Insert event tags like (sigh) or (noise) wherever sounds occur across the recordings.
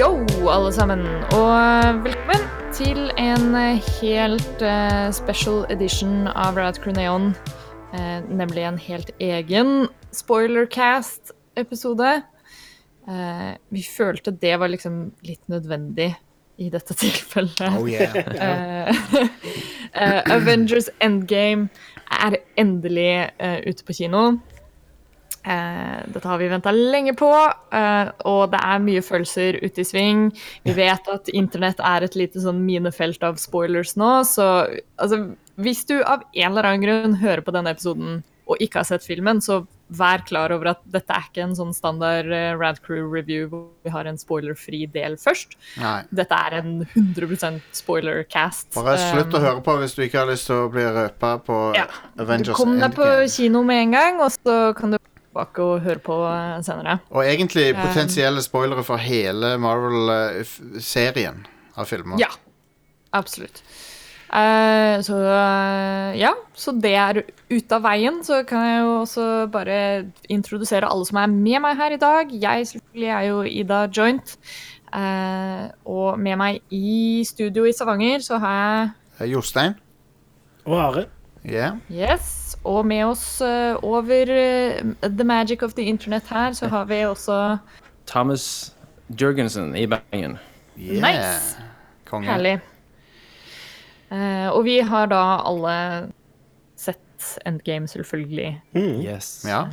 alle sammen, og velkommen til en helt eh, special edition av Riot Crew Neon. Eh, nemlig en helt egen spoilercast-episode. Eh, vi følte det var liksom litt nødvendig i dette (laughs) tilfellet. Oh yeah. Eh, eh, Avengers Endgame er endelig eh, ute på kino. Eh, dette har vi venta lenge på, eh, og det er mye følelser ute i sving. Vi vet at internett er et lite sånn minefelt av spoilers nå, så altså, hvis du av en eller annen grunn hører på denne episoden og ikke har sett filmen, så vær klar over at dette er ikke en sånn standard eh, Rad Crew-review hvor vi har en spoilerfri del først Nei. dette er en 100 spoiler-cast. (laughs) Bare slutt å høre på hvis du ikke har lyst til å bli røpa på um, Ja. Avengers Kom deg på Endgame. kino med en gang, og så kan du gå tilbake og høre på eh, senere. Og egentlig potensielle spoilere for hele Marvel-serien av filmer. Ja, absolutt. Eh, så eh, ja, så det er ute av veien. Så kan jeg jo også bare introdusere alle som er med meg her i dag. Jeg selvfølgelig er jo Ida Joint. eh, og med meg i studio i Stavanger så har jeg Eh, Jostein? Og Are. Yeah. Yes, og med oss eh, over eh, the magic of the internet her, så har vi også Thomas Jørgensen i Bergen. yeah. Nice. Konge. Herlig. Eh, og vi har da alle sett Endgame, selvfølgelig. Yes. Ja.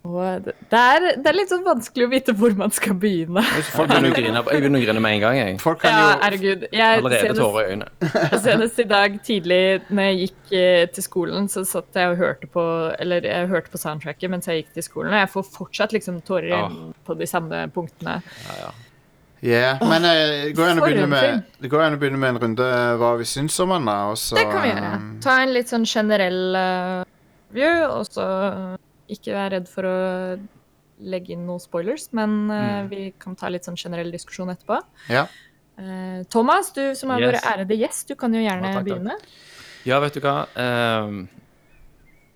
Og det det er, det er litt sånn vanskelig å vite hvor man skal begynne. Jeg begynner å grine, jeg begynner å grine med en gang. jeg. Folk kan Ja, jo herregud. Jeg, Allerede senest- tårer i øynene. (laughs) Senest i dag tidlig når jeg gikk eh, til skolen, så satt jeg og hørte på Eller jeg hørte på soundtracket mens jeg gikk til skolen, og jeg får fortsatt liksom tårer i Ja. Ah. øynene på de samme punktene. yeah. Men eh, det går an å For begynne en med Det går an å begynne med en runde eh, hva vi syns om den, da. og så, um, Det kan vi gjøre. Ta en litt sånn generell eh, view, og så eh, ikke være redd for å legge inn noen spoilers, men eh, vi kan ta litt sånn generell diskusjon etterpå. Ja. Eh, Thomas, du som er Yes. vår ærede gjest, du kan jo gjerne Ja, takk, takk. begynne. Ja, vet du hva? Ehm,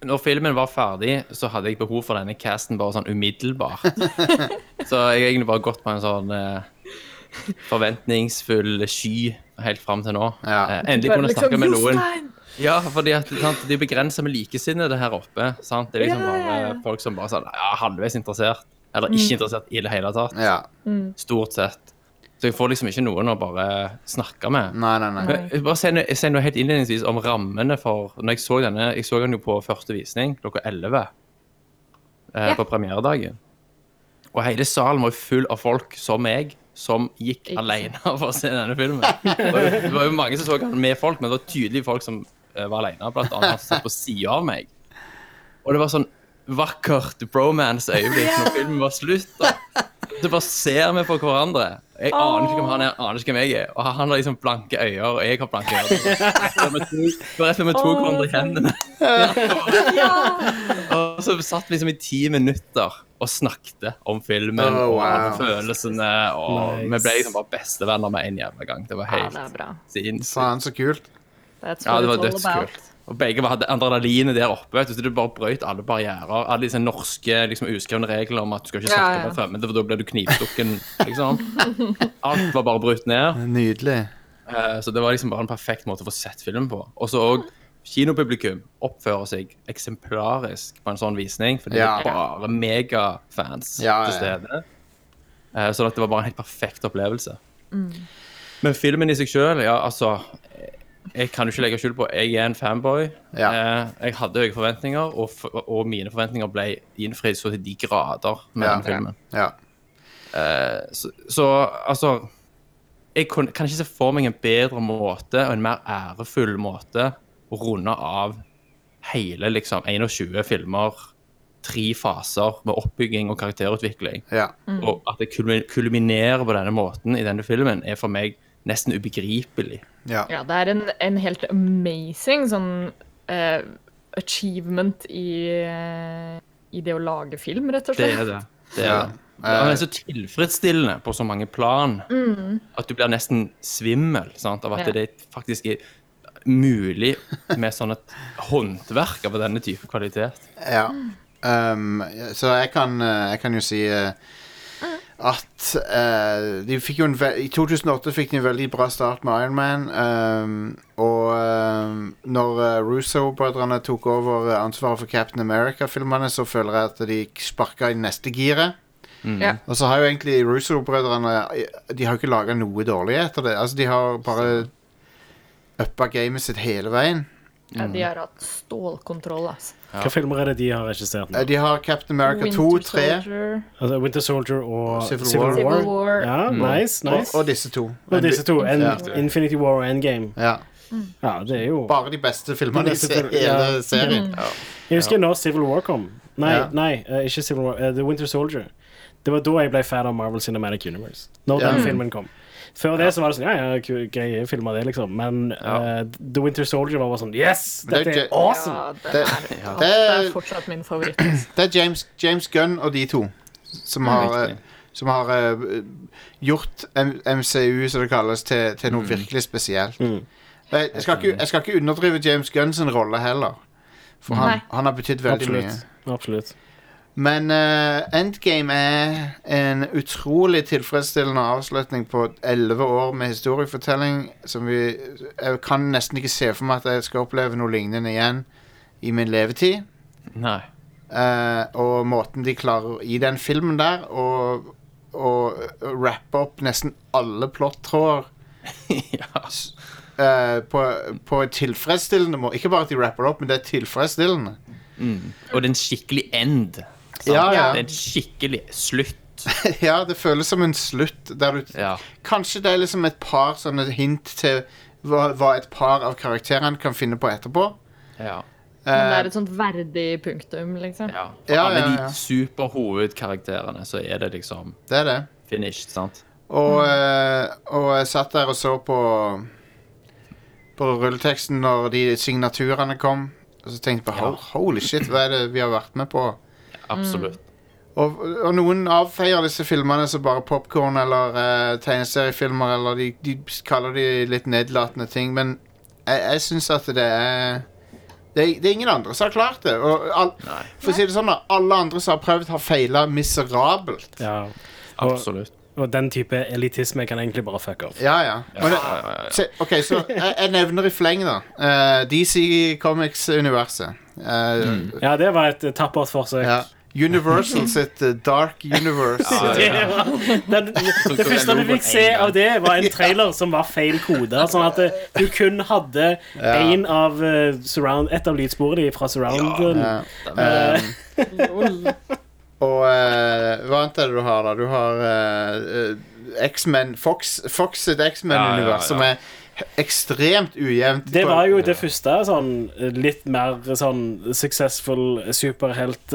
når filmen var ferdig, så hadde jeg behov for denne casten bare sånn (laughs) umiddelbart. så jeg har egentlig bare gått på en sånn eh, forventningsfull sky helt fram til nå. Ja. Eh, endelig kunne Liksom, jeg snakke med noen. Jostein! Ja, fordi at sant, de begrenser med likesinnede her oppe. Sant? Det er liksom Ja, ja, ja. Mm. bare folk som bare sånn, ja, halvveis interessert, eller ikke interessert i det hele tatt. ja. (laughs) Stort sett. Så jeg får liksom ikke noen å bare snakke Mm. med. Nei, nei, nei. Men jeg Bare si noe, si noe helt innledningsvis om rammene for Når jeg så denne Jeg så den jo på første visning klokka 11 Ja. eh, på premieredagen. Og hele salen var jo full av folk som meg, som gikk Ikke sant. alene for å se denne filmen. Det var jo, det var jo mange som så den med folk, men det var tydelig folk som eh, var alene. Blant annet han som satt på sida av meg. Og det var sånn vakkert bromance-øyeblikk når filmen var slutt. da. Så bare ser vi på hverandre. Jeg aner ikke hvem han er, jeg aner ikke hvem jeg er. Og han har liksom blanke øyne, og jeg har blanke (laughs) øyne. Det var rett før vi tok hverandre i hendene. Og så satt vi liksom i ti minutter og snakket om filmen Oh, og wow. alle følelsene. Og vi ble liksom bare bestevenner med en jævla gang. Det var Ja, det er helt bra. sinnssykt. Faen, så kult. That's Ja, what det var it's all about. dødskult. Og begge hadde adrenalinet der oppe. vet du, så Det bare brøt alle barrierer. Alle disse norske liksom, uskrevne reglene om at du skal ikke Ja, snakke ja. med fremmede, for da blir du knivstukken. (laughs) liksom. Alt var bare brutt ned. Nydelig. Eh, Så det var liksom bare en perfekt måte å få sett filmen på. Og så òg kinopublikum oppfører seg eksemplarisk på en sånn visning, fordi Ja. det er bare megafans Ja, ja, ja. til stede. Eh, Sånn at det var bare en helt perfekt opplevelse. Men filmen i seg sjøl, ja, altså Jeg kan jo ikke legge skjul på jeg er en fanboy. Ja. Eh, Jeg hadde høye forventninger, og, f- og mine forventninger ble innfridd så til de grader med Ja. den filmen. Ja. Så, så altså Jeg kun, kan ikke se for meg en bedre måte og en mer ærefull måte å runde av hele liksom 21 filmer, tre faser med oppbygging og karakterutvikling. ja. Og at det kulmi- kulminerer på denne måten i denne filmen, er for meg nesten ubegripelig. ja. Ja, det er en, en helt amazing sånn eh, achievement i, eh, i det å lage film, rett og Det slett. er det. det, er Ja. det. Han er så tilfredsstillende på så mange plan at du blir nesten svimmel sant? av at Ja. det faktisk er mulig med sånn et håndverk av denne type kvalitet. Ja. Um, så jeg kan, eh, jeg kan jo si eh, at eh, de fikk jo en ve I 2008 fikk de en veldig bra start med Iron Man. ehm, og ehm, når eh, Russo-brødrene tok over eh, ansvaret for Captain America-filmene, så føler jeg at de sparka i neste giret. Ja. Og så har jo egentlig Russo-brødrene eh, De har jo ikke laga noe dårlig etter det. Altså, de har bare uppa gamet sitt hele veien. Ja, de har hatt stålkontroll, altså. Hvilke filmer er det de har regissert nå? Eh, De har Captain America 2, 3 Soldier, Altså, Winter Soldier og Civil Civil, War. War. Civil War. Ja, nice, og, nice. og disse to. Og disse to. En, Ja. Infinity War og Endgame. Ja. Ja, det er jo Bare de beste filmene i beste se- fil- hele ja. serien. Jeg husker når Civil War kom. Nei, Ja. nei eh, ikke Civil War. eh, The Winter Soldier. Det var da jeg ble fan av Marvel Cinematic Universe. Når Ja. den filmen kom. Før det så var det sånn Ja, ja, ku- greie filmer, det, liksom. Men eh, The Winter Soldier var bare sånn Yes! det er Dette er gøy. awesome! Ja, det, Det- (laughs) er, ja, det er det- fortsatt min (laughs) favoritt. altså. Det er James, James Gunn og de to som har, eh, riktig. som har eh, gjort M MCU, som det kalles, til, til noe virkelig spesielt. Mm. Jeg, jeg, skal ikke, jeg skal ikke underdrive James Gunn sin rolle heller, for Nei. han, han har betydd veldig mye. Absolutt. Absolutt. Men eh, Endgame er en utrolig tilfredsstillende avslutning på 11 år med historiefortelling som vi Jeg kan nesten ikke se for meg at jeg skal oppleve noe lignende igjen i min levetid. Nei. Eh, og måten de klarer i den filmen der å å rappe opp nesten alle plottråder (laughs) ja. eh, på, på et tilfredsstillende måte. Ikke bare at de rapper det opp, men det er tilfredsstillende. (laughs) Og det er en skikkelig end. sant? Ja, ja. Det er en skikkelig slutt. ja, det føles som en slutt der du Ja. Kanskje det er liksom et par sånne hint til hva, hva et par av karakterene kan finne på etterpå. ja. Men det Eh, er et sånt verdig punktum, liksom. Ja. For Ja, alle ja, ja. de superhovedkarakterene, så er det liksom det er det. finished, sant? Og, eh, og jeg satt der og så på På rulleteksten når de signaturene kom. Og så tenkte jeg på "Ho- holy shit, hva er det vi har vært med på? Absolutt. Og, og noen avfeier disse filmene som bare popkorn eller eh, tegneseriefilmer, eller de, de kaller de litt nedlatende ting, men jeg, jeg syns at det er det, er- det er ingen andre som har klart det. Og all, Nei. for å si det sånn, da, alle andre som har prøvd, har feila miserabelt. Ja. Og, Absolutt. og den type elitisme kan egentlig bare fuck off. Ja, ja. Og det, Ja, ja, ja. se, OK, så jeg, jeg nevner i fleng, da. Eh, DC Comics-universet. Eh, Mm. Ja, det var et eh, tappert forsøk. (laughs) ja. Universal sitt eh, Dark Universe. Det, var, den, det første du fikk se av det, (laughs) var en trailer som var feil koder. Sånn at eh, du kun hadde en av eh, surround, et av lydsporene fra surrounden. Ja. Eh, Og eh, hva annet er det du har, da? Du har eh, eh, X-Men Fox, Fox sitt Ja, ja, ja. X-Men-univers, som er ekstremt ujevnt. det på- var jo det første sånn eh, litt mer sånn successful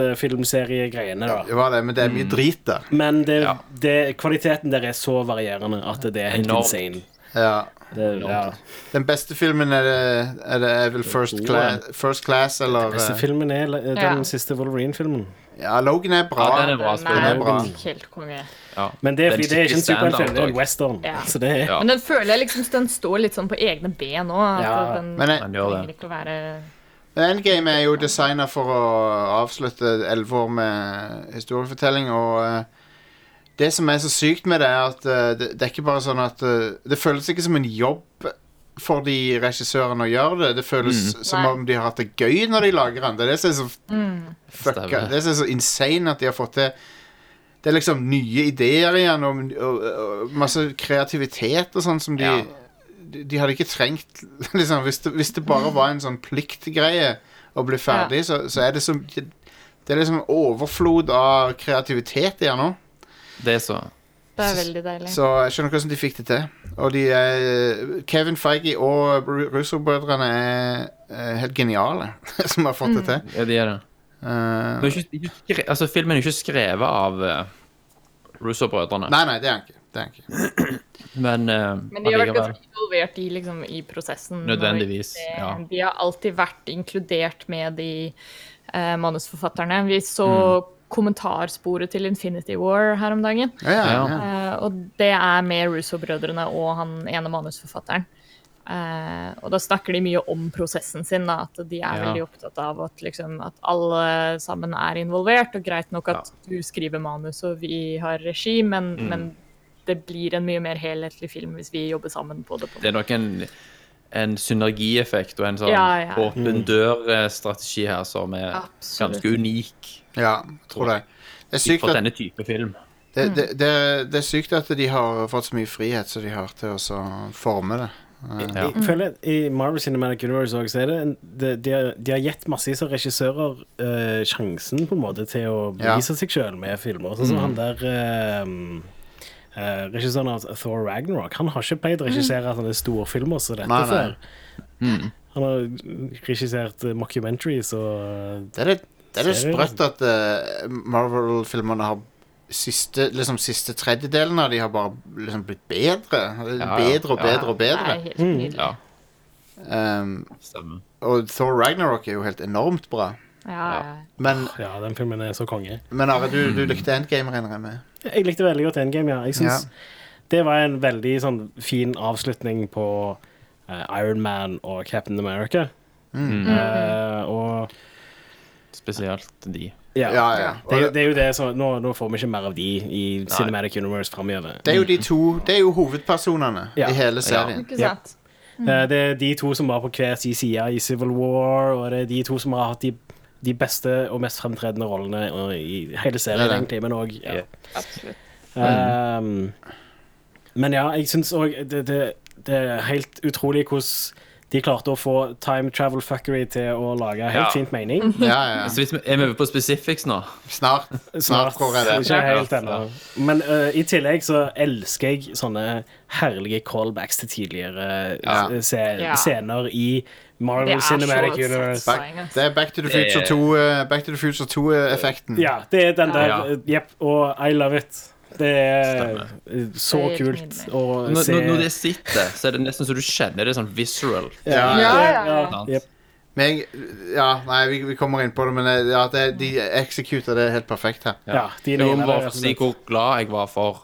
superheltfilmserie-greiene, da. Det var det, men det er Mm. mye drit der. Men det, Ja. det, kvaliteten der er så varierende at det er helt Enormt. insane. Ja. Det, ja. Den beste filmen er, det, er, det, er vel First gode. Class, First Class eller Beste eh, filmen er eh, den Ja. siste Wolverine-filmen. Ja, Logan er bra. Ja, den er bra. Den Den er er bra. helt konge. Ja. Men det er fordi det er ikke en superheltfilm, skikkelig det er en standout western. Ja. Så det er Ja. Men den føler jeg liksom den står litt sånn på egne ben nå. At Ja. den Men jeg- Den gjør trenger det. ikke å være Men Endgame er jo designa for å avslutte elleve år med historiefortelling, og eh, det som er så sykt med det, er at eh, det, det er ikke bare sånn at eh, Det føles ikke som en jobb for de regissørene å gjøre det. Det føles Mm. som Nei. om de har hatt det gøy når de lager den. Det er det som er så fucka Stemmer. Det er det som er så insane at de har fått til Det er liksom nye ideer igjen, og, og, og masse kreativitet og sånn som de Ja. de, de hadde ikke trengt (laughs) liksom, hvis, det, hvis det bare var en sånn pliktgreie å bli ferdig, så, så er det som Det er liksom overflod av kreativitet igjen nå. Det er så Det er veldig deilig. Så jeg skjønner ikke hvordan de fikk det til. Og de er- Kevin Feige og Ru- Russo-brødrene er, eh, helt geniale (laughs) som har fått det til. Ja, de er det. Eh, Men ikke, ikke, skre- altså, filmen er ikke skrevet av uh, Russo-brødrene, nei, nei, det er han ikke. Det er han ikke. men, eh, Men de har vært allikevel. ganske involvert i, liksom, i prosessen. og Nødvendigvis, i det- ja. De har alltid vært inkludert med de eh, manusforfatterne. Vi så Mm. kommentarsporet til Infinity War her om dagen. Ja, ja, ja. Ja. Eh, og det er med Russo-brødrene og han ene manusforfatteren. Eh, og da snakker de mye om prosessen sin, da, at de er Ja. veldig opptatt av at, liksom, at alle sammen er involvert. Og greit nok at du skriver manus og vi har regi, men, men det blir en mye mer helhetlig film hvis vi jobber sammen på det. På. Det er nok en, en synergieffekt og en sånn Ja, ja. åpen dør-strategi her som er Absolutt. ganske unik Ja, tror det. Det er sykt for at denne type film. det, det, det, det er sykt at de har fått så mye frihet som de har til å så forme det. Ja. Jeg føler at I Marvel Cinematic Universe også, så er det en, de, de, har, de har gitt massevis av regissører eh, sjansen på en måte til å Ja. bevise seg sjøl med filmer. Sånn som han der eh, eh, regissøren av Thor Ragnarok. Han har ikke pleid å regissere sånne store filmer som dette Nei, nei. før. Han har regissert eh, mockumentaries og Det er litt, det er litt Seriøst? sprøtt at eh, Marvel-filmerne har siste, liksom siste tredjedelen av de har bare liksom blitt bedre. ja. Bedre og Ja. bedre og Det bedre. er helt nydelig. Ja, Um, stemmer. og Thor Ragnarok er jo helt enormt bra. Ja, ja. Men, Ja, den filmen er så konge. men Are, du, du likte Endgame, regner jeg med? Jeg likte veldig godt Endgame, ja. Jeg synes Det var en veldig sånn, fin avslutning på eh, Iron Man og Captain America. Mm. Eh, og Spesielt de. ja. Ja, ja. Det, er jo- det er jo det som nå, nå får vi ikke mer av de i Cinematic Universe framover. Det er jo de to Det er jo hovedpersonene Ja. i hele serien. Ikke Ja. sant? Eh, det er de to som var på hver sin side i Civil War, og det er de to som har hatt de, de beste og mest fremtredende rollene og i hele serien, Det er det. egentlig, men òg ja. Ja. Absolutt. Um, men ja, jeg syns òg det, det, det er helt utrolig hvordan de klarte å få time travel fuckery til å lage helt Ja. fint Mm. mening. Ja, ja. (laughs) Så hvis vi er vi over på specifics nå. Snart. Snart går jeg det. Ikke helt Ja. ennå. Men eh, i tillegg så elsker jeg sånne herlige callbacks til tidligere Ja. eh, se Ja. scener i Det Marvel er så Cinematic et Universe. satspoeng, Back, altså. det er Back to the Det er- Future 2, eh, Back to the Future 2-effekten. Ja, det er den der. Ja. eh, Jepp. Og I love it. Det er Stemmer. eh, så Det er helt kult nydelig. å Når, se. når når det sitter, så er det nesten så du kjenner det sånn visceral. Ja, Ja, ja, ja. ja, Sant? jepp. Men jeg, ja, nei, vi, vi kommer inn på det, men eh, ja, det, de executer det helt perfekt her. Ja, de Jeg nynner må bare det, få si hvor glad jeg var for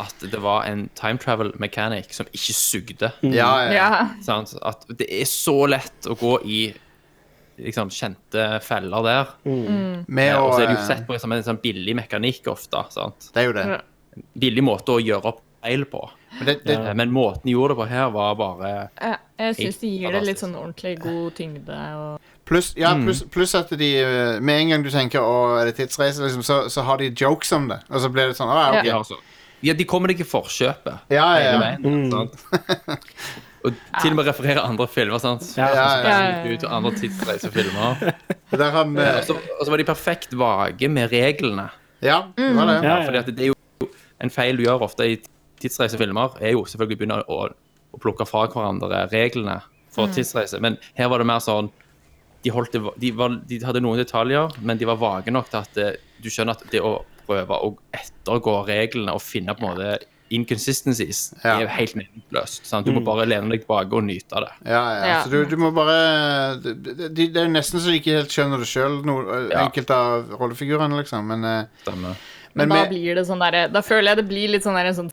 at det var en time travel mechanic som ikke sugde. Ja, ja. Ja. Sant? At det er så lett å gå i liksom, kjente feller der. Med å Og så er det jo eh, sett på som en sånn billig mekanikk ofte. Sant? Det er jo det. Billig måte å gjøre opp feil på. Eh, Men det, det, Men måten de gjorde det på her, var bare Jeg, Eh, jeg syns de gir det litt Fantastisk. sånn ordentlig god tyngde. Og... Pluss ja, Mm. pluss- pluss at de eh, Med en gang du tenker å, er det tidsreise, liksom, så, så har de jokes om det. Og så blir det sånn Å, ja, De, ok. har så, ja, de kommer deg i forkjøpet. Ja, ja, Mm. hele ja. veien. Sant? Og til og med referere andre filmer. sant? Ja. ja, ja. Ut og andre tidsreisefilmer. (laughs) Der har vi Og så- og så var de perfekt vage med reglene. Ja, det var Mm. det. Ja, Ja, fordi at det er jo en feil du gjør ofte i tidsreisefilmer, er jo selvfølgelig å begynne å, å plukke fra hverandre reglene for tidsreise. Men her var det mer sånn de, holdt det, de, var, de hadde noen detaljer, men de var vage nok til at eh, du skjønner at det å prøve å ettergå reglene og finne på en måte inconsistencies, Ja. det er jo helt meningsløst. sant? Du må bare lene deg tilbake og nyte av det. Ja, ja. Ja. Så du, du må bare de, de, Det er nesten så de ikke helt skjønner det sjøl, Ja. enkelte av rollefigurene, liksom. Men, eh, Stemmer. Men men da med- blir det sånn derre Da føler jeg det blir litt sånn der en sånn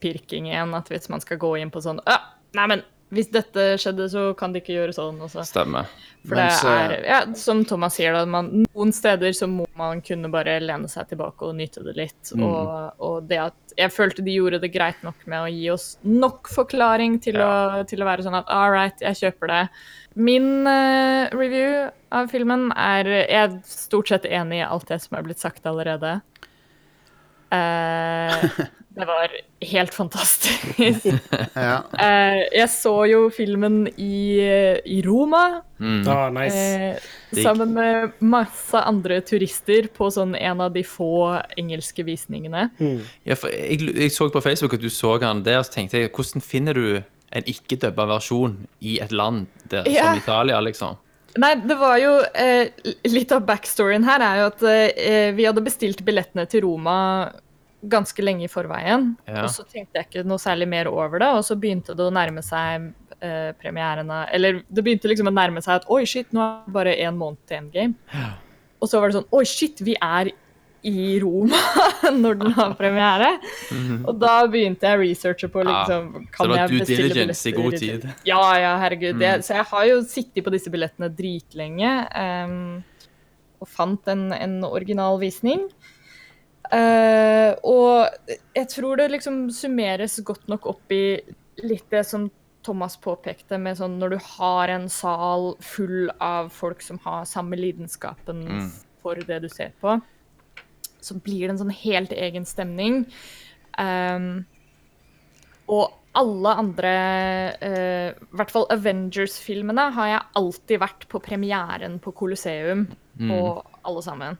pirking igjen, at hvis man skal gå inn på sånn «Å, Nei, men hvis dette skjedde, så kan de ikke gjøre sånn. Og så. Stemmer. For mens, det er, eh, ja, som Thomas sier, da, man, noen steder så må man kunne bare lene seg tilbake og nyte det litt. Mm. Og, og det at Jeg følte de gjorde det greit nok med å gi oss nok forklaring til, å, til å være sånn at all right, jeg kjøper det. Min eh, review av filmen er Jeg er stort sett enig i alt det som er blitt sagt allerede. Eh, (laughs) det var helt fantastisk. (laughs) ja. Eh, jeg så jo filmen i, i Roma. Ah, nice. Eh, Digg. sammen med masse andre turister på sånn en av de få engelske visningene. Ja, for jeg, jeg så på Facebook at du så han der, så tenkte jeg hvordan finner du en ikke-dubba versjon i et land der, Ja. som Italia, liksom? Nei, det var jo eh, Litt av backstoryen her er jo at eh, vi hadde bestilt billettene til Roma ganske lenge i forveien. Ja. Og så tenkte jeg ikke noe særlig mer over det, og så begynte det å nærme seg eh, premieren av Eller det begynte liksom å nærme seg at oi, shit, nå er det bare én måned til endgame. Og så var det sånn Oi, shit, vi er i Roma (laughs) når den har premiere. Og da begynte jeg å researche på Mhm. Ja, liksom, Så kan det var jeg due bestille diligence i billetter? god tid. Mm. Ja, ja, herregud. Det, så jeg har jo sittet på disse billettene dritlenge ehm, og fant en, en original visning. Eh, og jeg tror det liksom summeres godt nok opp i litt det som Thomas påpekte, med sånn når du har en sal full av folk som har samme lidenskapen Mm. for det du ser på, så blir det en sånn helt egen stemning. Ehm, og alle andre, eh, i hvert fall Avengers-filmene, har jeg alltid vært på premieren på Colosseum. Og alle sammen.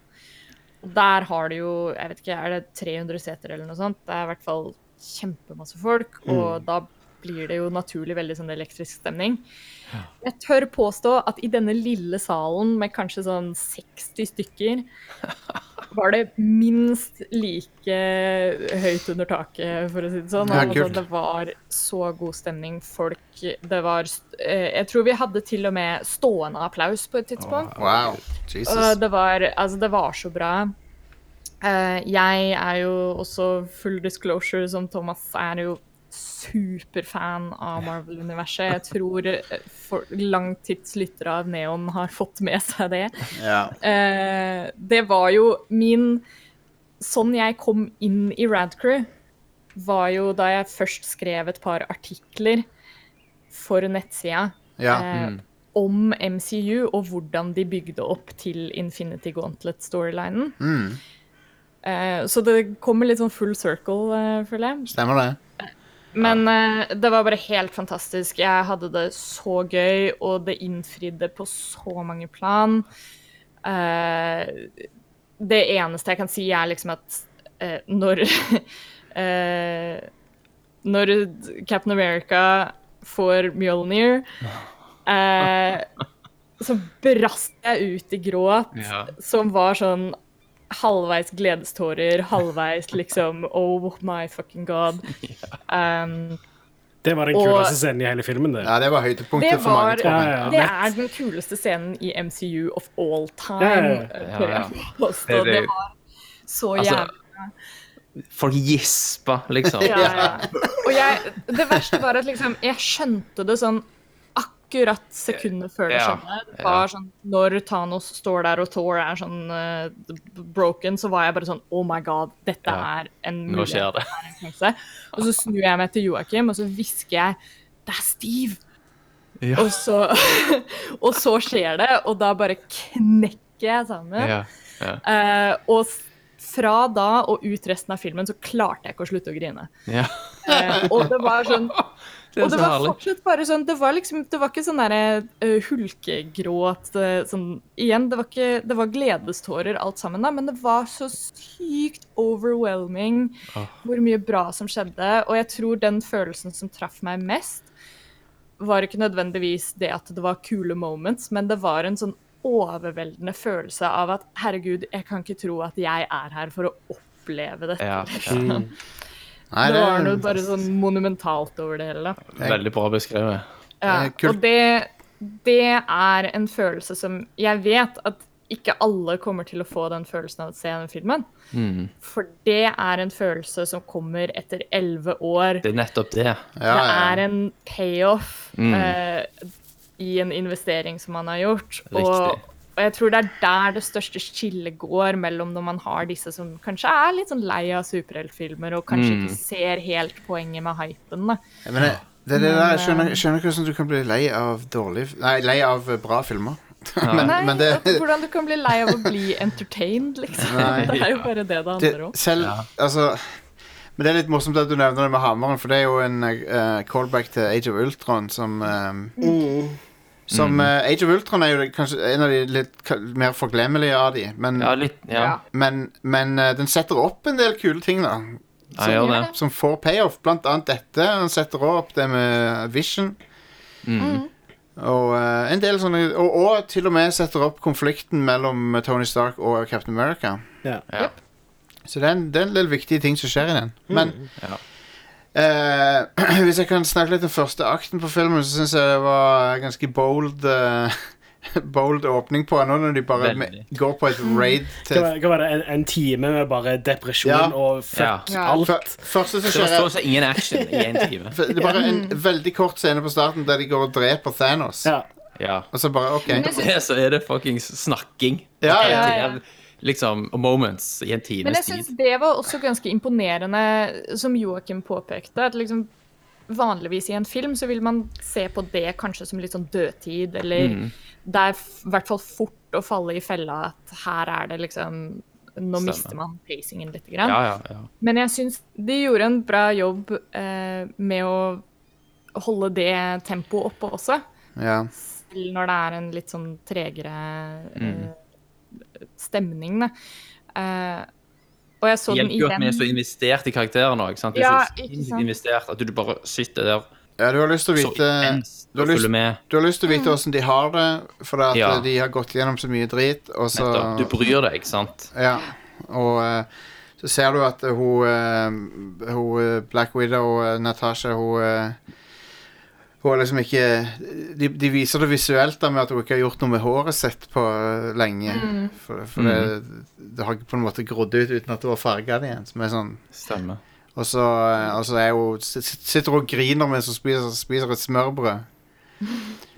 Og der har du jo, jeg vet ikke, er det 300 seter eller noe sånt? Det er i hvert fall kjempemasse folk, og da blir det jo naturlig veldig sånn elektrisk stemning. Jeg tør påstå at i denne lille salen med kanskje sånn 60 stykker, var det minst like høyt under taket, for å si det sånn. Ja, altså, kult. det var så god stemning. Folk Det var st- eh, Jeg tror vi hadde til og med stående applaus på et tidspunkt. Wow. Jesus. Og det var, altså, det var så bra. Eh, jeg er jo også full disclosure, som Thomas er jo superfan av Marvel-universet. Jeg tror eh, for langtidslyttere av Neon har fått med seg det. Ja. Eh, det var jo min Sånn jeg kom inn i Radcrew, var jo da jeg først skrev et par artikler for nettsida ja. eh, om MCU og hvordan de bygde opp til Infinity Gauntlet-storylinen. Mm. Eh, så det kommer litt sånn full circle, eh, føler jeg. Stemmer det. Men eh, det var bare helt fantastisk. Jeg hadde det så gøy, og det innfridde på så mange plan. Eh, det eneste jeg kan si, er liksom at eh, når (laughs) eh, Når Captain America får Mjolnir, eh, så brast jeg ut i gråt, Ja. som var sånn halvveis gledestårer, halvveis liksom Oh my fucking god. Um, Det var den Og- kuleste scenen i hele filmen. Det. Ja, det var høydepunktet Det for mange, var- tror jeg. Ja, ja, ja. det er den kuleste scenen i MCU of all time. Ja, ja, ja. eh, tør jeg påstå. Det er det- Det var så Altså, jævlig. Folk gispa, liksom. Ja, ja. Og jeg, det verste var at liksom, jeg skjønte det sånn akkurat sekundet før det Ja, skjedde. Det ja. var sånn, når Thanos står der og Thor er sånn eh, broken, så var jeg bare sånn Oh my god, dette Ja. er en Nå skjer mulighet. det. her en sjanse. Og så snur jeg meg til Joakim, og så hvisker jeg Det er Steve! Ja. Og, så, (laughs) og så skjer det, og da bare knekker jeg sammen. Ja. Eh, og s- fra da og ut resten av filmen så klarte jeg ikke å slutte å grine. ja. Eh, og det var sånn (laughs) Det er og det så var herlig. fortsatt bare sånn Det var liksom Det var ikke sånn derre eh, hulkegråt eh, sånn Igjen, det var ikke Det var gledestårer alt sammen, da, men det var så sykt overwhelming Åh. hvor mye bra som skjedde. Og jeg tror den følelsen som traff meg mest, var ikke nødvendigvis det at det var kule moments, men det var en sånn overveldende følelse av at herregud, jeg kan ikke tro at jeg er her for å oppleve dette. Ja, ja. Mm. Nei, det var noe det, bare sånn monumentalt over det hele. da. Veldig bra beskrevet. Ja, Eh, kult. og det, det er en følelse som Jeg vet at ikke alle kommer til å få den følelsen av å se den filmen. Mm. For det er en følelse som kommer etter elleve år. Det er nettopp det. ja, Det er ja. en payoff Mm. eh, i en investering som man har gjort. Riktig. Og, og jeg tror det er der det største skillet går mellom når man har disse som kanskje er litt sånn lei av superheltfilmer og kanskje Mm. ikke ser helt poenget med hypen. Da. Men det, det, er det der, jeg skjønner, eh, jeg skjønner ikke hvordan du kan bli lei av dårlig Nei, lei av eh, bra filmer. (laughs) men, Nei, men det, at, hvordan du kan bli lei av å (laughs) bli entertained, liksom. Nei. (laughs) det er jo bare det det det handler om. Selv Ja. Altså Men det er litt morsomt at du nevner det med hammeren, for det er jo en eh, callback til Age of Ultron som eh, Mm. Som eh, Age of Ultron er jo det- kanskje en av de litt ka- mer forglemmelige av de, men, Ja, litt Ja, men, men eh, den setter opp en del kule ting, da. jeg gjør det. Som får payoff, blant annet dette. Han setter også opp det med Vision. Mm. Mm. Og eh, en del sånne og, og til og med setter opp konflikten mellom Tony Stark og Captain America. Ja. Ja. Så det er, en, det er en del viktige ting som skjer i den. Mm. Men Ja. eh, (clears throat) hvis jeg kan snakke litt om første akten på filmen, så syns jeg det var ganske bold eh, (laughs) bold åpning på nå når de bare Veldig. me- går på et raid Hva, til hva var Mm. det, en, en time med bare depresjon Ja. og fuck Ja. alt? Fø- Første som Det var skjer, stort sett ingen action i en time. er det er bare en veldig kort scene på starten der de går og dreper Thanos. Ja. Ja. Og så bare OK. Men jeg syns- Det, så er det fuckings snakking. Ja, Ja, ja. ja. Det er Liksom moments i Men en times jeg tid. syns det var også ganske imponerende, som Joakim påpekte. at liksom Vanligvis i en film så vil man se på det kanskje som litt sånn dødtid, eller Mm. det er f- i hvert fall fort å falle i fella at her er det liksom Nå Stemmer. mister man pacingen litt. Grann. Ja, ja, ja. Men jeg syns de gjorde en bra jobb eh, med å holde det tempoet oppe også. Ja. Selv når det er en litt sånn tregere Mm. eh, stemning, da. Eh, og jeg så Det den hjelper jo at vi er så igjen. investert i karakteren òg. ikke sant? Det Ja, er så ikke sinnssykt sant. investert at du bare sitter der ja, du har lyst til å så vite intenst du har og lyst- følger med. Du har lyst til å vite åssen de har det, for at Ja. eh, de har gått gjennom så mye drit, og så nettopp. Du bryr deg, ikke sant? Ja. Og eh, så ser du at eh, hun, eh, hun eh, Black Widow og Natasha hun, eh, hun har liksom ikke de, de viser det visuelt da med at hun ikke har gjort noe med håret sitt på eh, lenge. For, for Mm. det, det har på en måte grodd ut uten at hun har farga det igjen. Som er sånn Stemmer. og så, eh, og så er hun, sit- sitter hun og griner mens hun spiser, spiser et smørbrød.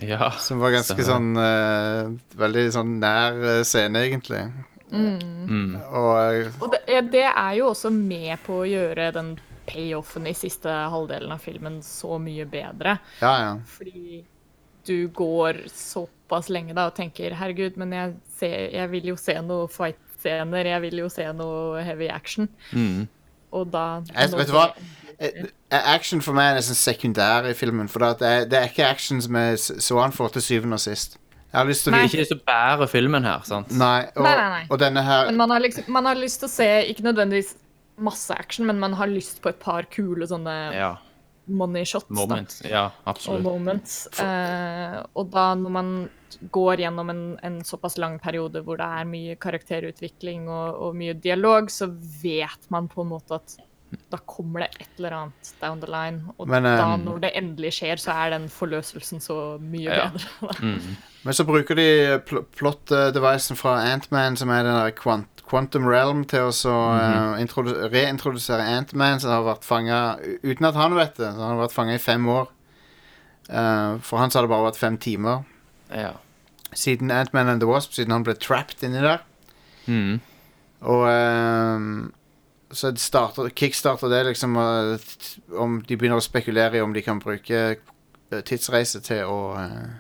Ja. Som var ganske sånn Stemmer. eh, Veldig sånn nær eh, scene, egentlig. Mm. Og eh, Og det, eh, det er jo også med på å gjøre den payoffen i siste halvdelen av filmen så mye bedre. Ja, ja. Fordi du går såpass lenge da og tenker herregud, men jeg, ser, jeg vil jo se noe fight-scener, jeg vil jo se noe heavy action. Mm. Og da Jeg, vet du hva? Eh, Action for meg er nesten sekundær i filmen. For det at det er, det er ikke action som jeg s- så han for til syvende og sist. Jeg har lyst til å Nei. Ikke det som bærer filmen her, sant? Nei, og, Nei, nei, nei. og denne her Men man har, liksom, man har lyst til å se ikke nødvendigvis masse action, men man har lyst på et par kule sånne Ja. money shots. da. Moment. Ja, og absolutt. moments. Eh, og da når man går gjennom en, en såpass lang periode hvor det er mye karakterutvikling og, og mye dialog, så vet man på en måte at da kommer det et eller annet down the line. Og Men, eh, da når det endelig skjer, så er den forløselsen så mye Ja. bedre. Men så bruker de pl plot-devicen fra Antman, som er den der quant Quantum Realm, til å så, eh, introdu- reintrodusere Antman, som har vært fanga Uten at han vet det, så han har vært fanga i fem år. Eh, for han så har det bare vært fem timer Ja. siden Antman and the Wasp, siden han ble trapped inni der. Mm. (laughs) Og ehm, så det starter, kickstarter det liksom eh, t- om De begynner å spekulere i om de kan bruke eh, tidsreise til å eh,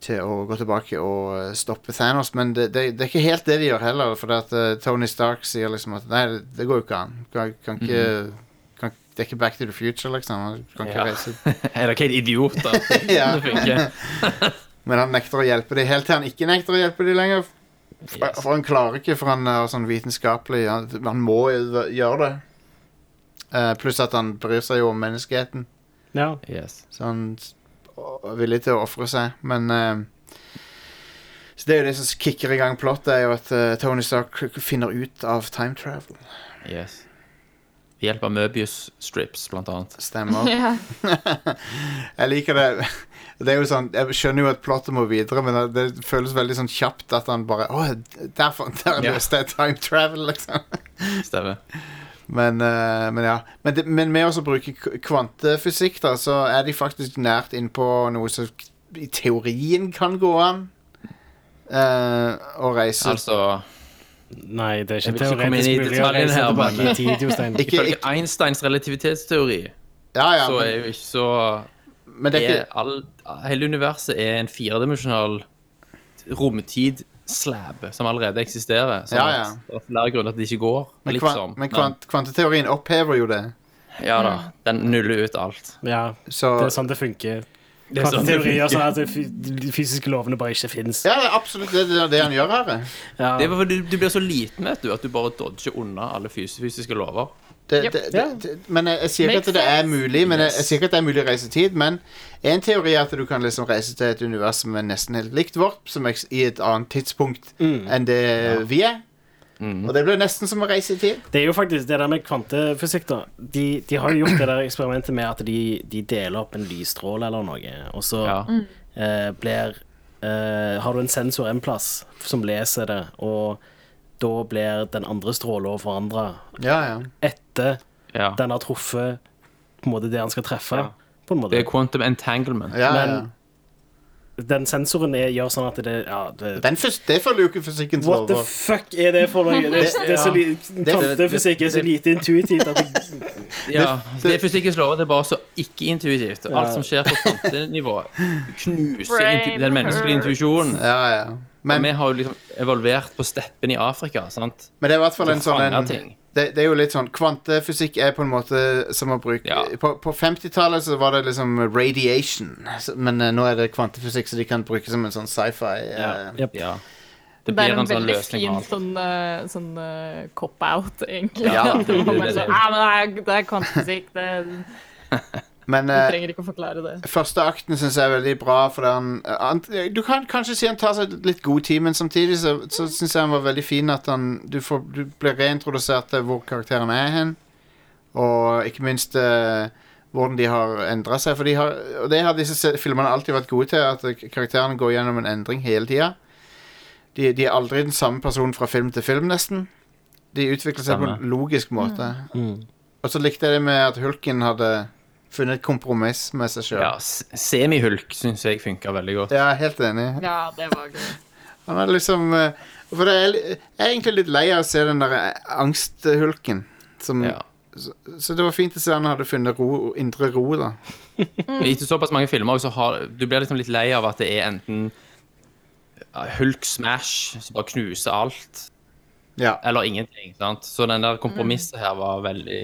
Til å gå tilbake og eh, stoppe Thanos. Men det, det, det er ikke helt det de gjør heller. For at eh, Tony Stark sier liksom at nei, det, det går jo ikke an. Du Kan, kan ikke kan, Det er ikke Back to the Future, liksom. Du Kan ikke Ja. reise. Er dere helt (laughs) idioter? Ja. Det funker. (laughs) Men han nekter å hjelpe dem helt til han ikke nekter å hjelpe dem lenger. For, Yes. for han klarer ikke, for han er sånn vitenskapelig. Han, han må jo gjøre det. Eh, pluss at han bryr seg jo om menneskeheten, Ja. Yes. så han s- å- er villig til å ofre seg. Men eh, Så det er jo det som kicker i gang plottet, er jo at eh, Tony Stark finner ut av time travel. yes. Ved hjelp av Møbius-strips, blant annet. (laughs) Stemmer. (laughs) Jeg liker det. Det er jo sånn, Jeg skjønner jo at plottet må videre, men det det føles veldig sånn kjapt at han bare Å, derfor, der Ja. løste jeg time travel, liksom. Stemmer. Men, eh, men ja. Men, det, men med også å bruke k- kvantefysikk, da, så er de faktisk nært innpå noe som k- i teorien kan gå an. eh, å reise Altså Nei, det er ikke Jeg vil ikke komme inn i teoretisk mulig å detaljen reise her, tilbake men- i tid, Jostein. Ikke- Ifølge Einsteins relativitetsteori Ja, ja, så er men, jo ikke så men det er er ikke all, Hele universet er en firedimensjonal romtid-slab som allerede eksisterer. Så Ja, ja. det er flere grunner til at det ikke går. Men, kvan, liksom. men kvant, kvanteteorien opphever jo det. Men, ja da. Den nuller ut alt. Ja, Så det er sånn det funker. Det er sånn det Teorier funker. sånn at det fy- de fysiske lovene bare ikke fins. Ja, det er absolutt det, det, er det han gjør her. det. Ja. Det er fordi du, du blir så liten vet du, at du bare dodger unna alle fys fysiske lover. Det, Yep. det, det, det, men jeg, jeg sier ikke Makes at det er sense. mulig Men jeg, jeg Yes. sier ikke at det er mulig å reise i tid. Men en teori er at du kan liksom reise til et univers som er nesten helt likt vårt, som eks- i et annet tidspunkt Mm. enn det vi er. Og det blir nesten som å reise i tid. Det er jo faktisk det der med kvantefysikk, da. De, de har jo gjort det der eksperimentet med at de, de deler opp en lysstråle eller noe, og så Ja. eh, blir eh, har du en sensor en plass som leser det, og da blir den andre stråla forandra Ja, ja. etter Ja. den har truffet på en måte det han skal treffe. Ja. På en måte. Det er quantum entanglement. ja, ja. Men- Den sensoren er, gjør sånn at det ja, det, Den fys det følger jo ikke fysikkens What the lover. fuck er det for noe? Det, det er så li Kvantefysikk er så lite intuitivt at det, Ja, det- det er fysikkens lover. Det er bare så ikke intuitivt. Ja. Alt som skjer på kvantenivå, knuser intu Brain den menneskelige hurts. intuisjonen. Ja, ja. Men, Men, vi har jo liksom evolvert på steppen i Afrika, sant? men det er i hvert fall en sånn en, Fanger ting. det, det er jo litt sånn Kvantefysikk er på en måte som å bruke Ja. På, på 50-tallet så var det liksom radiation, så- men eh, nå er det kvantefysikk, så de kan bruke som en sånn sci-fi. eh, Jep. Ja. Det Det er blir en, en sånn veldig løsning fin av alt. sånn, eh, sånn eh, cop-out, egentlig. (laughs) Ja, At man det- det- bare det- sånn, «Ah, men det, er, det er kvantefysikk, det, Men du eh, trenger ikke å forklare det. Første akten syns jeg er veldig bra. For han, eh, han, du kan kanskje si han tar seg litt god tid, men samtidig så, Mm. så syns jeg han var veldig fin at han, du, får, du blir reintrodusert til hvor karakteren er hen. Og ikke minst eh, hvordan de har endra seg. For de har, og det har disse se- filmene alltid vært gode til, at eh, karakterene går gjennom en endring hele tida. De, de er aldri den samme personen fra film til film, nesten. De utvikler seg på Stemmer. en logisk måte. Mm. Og så likte jeg det med at Hulken hadde funnet et kompromiss med seg sjøl. Ja, s- Semihulk syns jeg funker veldig godt. Ja, helt enig. Ja, det var gøy. Han er liksom eh, For det er, li- jeg er egentlig litt lei av å se den der eh, angsthulken. Som, Ja. så, så det var fint å se han hadde funnet ro, indre ro, da. Etter såpass mange filmer så har, du blir liksom litt lei av at det er enten ja, Hulk smash, som bare knuser alt, Ja, (laughs) eller ingenting. sant? Så den der kompromisset her var veldig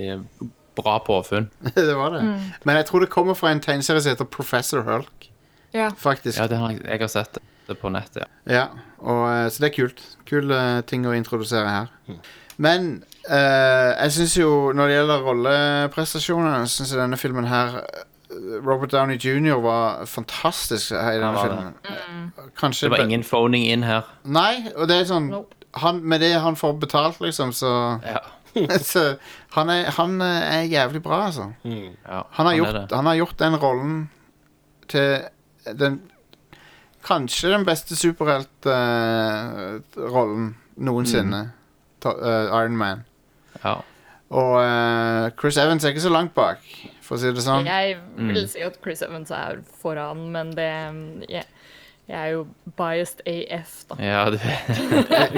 bra påfunn. det var det. Men jeg tror det kommer fra en tegneserie som heter Professor Hulk, Ja. faktisk. Ja, det har jeg, jeg har sett det på nettet. ja. Ja, og, eh, så det er kult. Kul eh, ting å introdusere her. Mm. Men eh, jeg syns jo, når det gjelder rolleprestasjoner, syns jeg denne filmen her eh, Robert Downey jr. var fantastisk i denne Han var filmen. Kanskje Det var be- ingen phoning inn her. Nei, og det er sånn Nope. han, Med det han får betalt, liksom, så, Ja, (laughs) så han, er, han eh, er jævlig bra, altså. ja, Han har, er gjort, det. han har gjort den rollen til den Kanskje den beste superheltrollen noensinne. Ta- eh, Iron Man. Ja. Og eh, Chris Evans er ikke så langt bak, for å si det sånn. Jeg Mm. vil si at Chris Evans er foran, men det mm, Jeg, jeg er jo biased AF, da. Ja, det,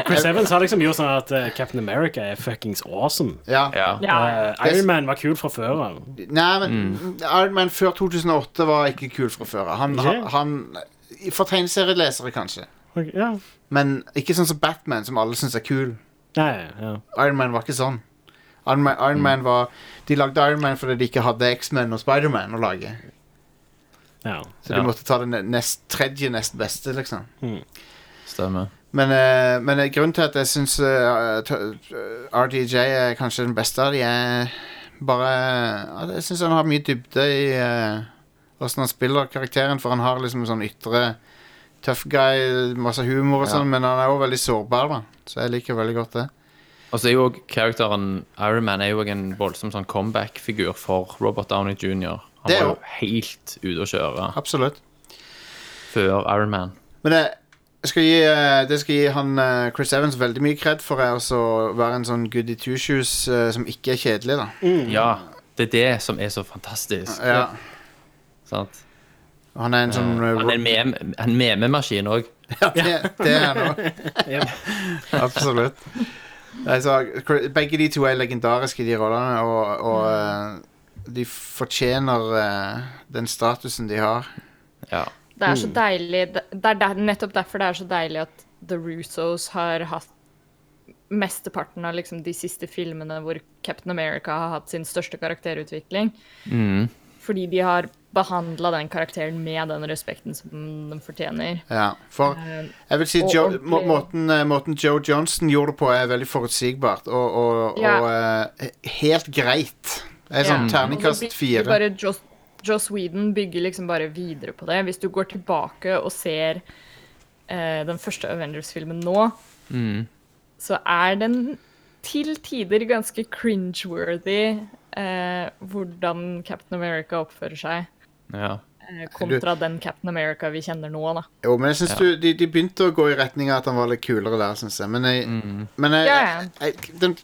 Chris Evans har liksom gjort sånn at eh, Captain America er fuckings awesome. Ja. ja. Ja, Eh, Iron Man var kul fra før av. Nei, men Iron Man før 2008 var ikke kul fra før. Han, Ikke? han, han For tegneserielesere, kanskje. Ok, Ja. Men ikke sånn som Batman, som alle syns er kul. Nei, ja. Iron Man var ikke sånn. Iron Man, Iron Mm. Man var De lagde Iron Man fordi de ikke hadde X-Men og Spider-Man å lage. ja. Så Ja. de måtte ta det ne- nest, tredje nest beste, liksom. Stemmer. Men, eh, men eh, grunnen til at jeg eh, syns RDJ er kanskje den beste av de, er bare eh, at Jeg syns han har mye dybde i åssen han spiller karakteren, for han har liksom en sånn ytre tough guy, masse humor og Ja. sånn, men han er òg veldig sårbar, da. Så jeg liker veldig godt det. Og så Altså, er jo også karakteren Iron Man er jo også en voldsom sånn comeback-figur for Robert Downey jr. Han Det er var jo- jo helt ute å kjøre Absolutt. før Iron Man. Men det jeg skal gi, eh, det skal gi han eh, Chris Evans veldig mye cred for er også å være en sånn goody two shoes eh, som ikke er kjedelig, da. Ja, det er det som er så fantastisk. Mm. Ja. Sant? Og han er en sånn eh, Han er en meme- en mememaskin òg. Ja, det, det er han òg. Yep. Absolutt. Nei, så Chris- begge de to er legendariske, de rollene, og, og eh, de fortjener eh, den statusen de har. Ja. Det er så deilig Det det er der, nettopp derfor det er så deilig at The Russos har hatt mesteparten av liksom de siste filmene hvor Captain America har hatt sin største karakterutvikling. Fordi de har behandla den karakteren med den respekten som den fortjener. Ja, for Eh, jeg vil si og Joe, ordentlig. må, måten, eh, måten Joe Johnson gjorde det på, er veldig forutsigbart og, og, Ja. og eh, helt greit. Det er sånn Ja. Og terningkast så bygger fire. Bare Joss, Joss Whedon bygger liksom bare videre på det. Hvis du går tilbake og ser eh, den første Avengers-filmen nå, så er den til tider ganske cringe-worthy eh, hvordan Captain America oppfører seg. ja. eh, kontra den Captain America vi kjenner nå. da. Jo, men jeg synes Ja. du, de, de begynte å gå i retning av at han var litt kulere der, synes jeg. Men, jeg, men jeg, Ja, ja. jeg, den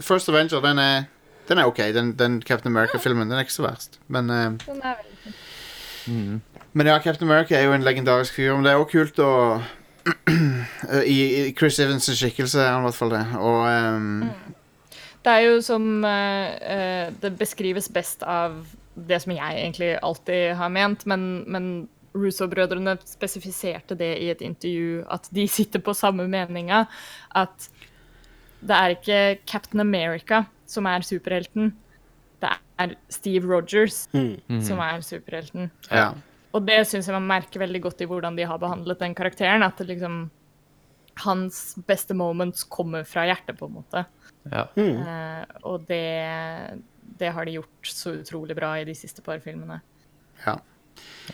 First Avenger, den er, den er ok. Den, den Captain America-filmen, den er ikke så verst. Men, eh, Den er veldig fin. men ja, Captain America er jo en legendarisk fyr, men det er også kult å (clears throat) I, I Chris Evans' skikkelse er han i hvert fall det. Og Mm. eh, Det er jo som eh, eh, Det beskrives best av det som jeg egentlig alltid har ment, men, men Russo-brødrene spesifiserte det i et intervju, at de sitter på samme meninga. At det er ikke Captain America som er superhelten, det er Steve Rogers som er superhelten. ja. Og det syns jeg man merker veldig godt i hvordan de har behandlet den karakteren. At det liksom Hans beste moments kommer fra hjertet, på en måte. Ja. Mm. Eh, og det, det har de gjort så utrolig bra i de siste par filmene. ja.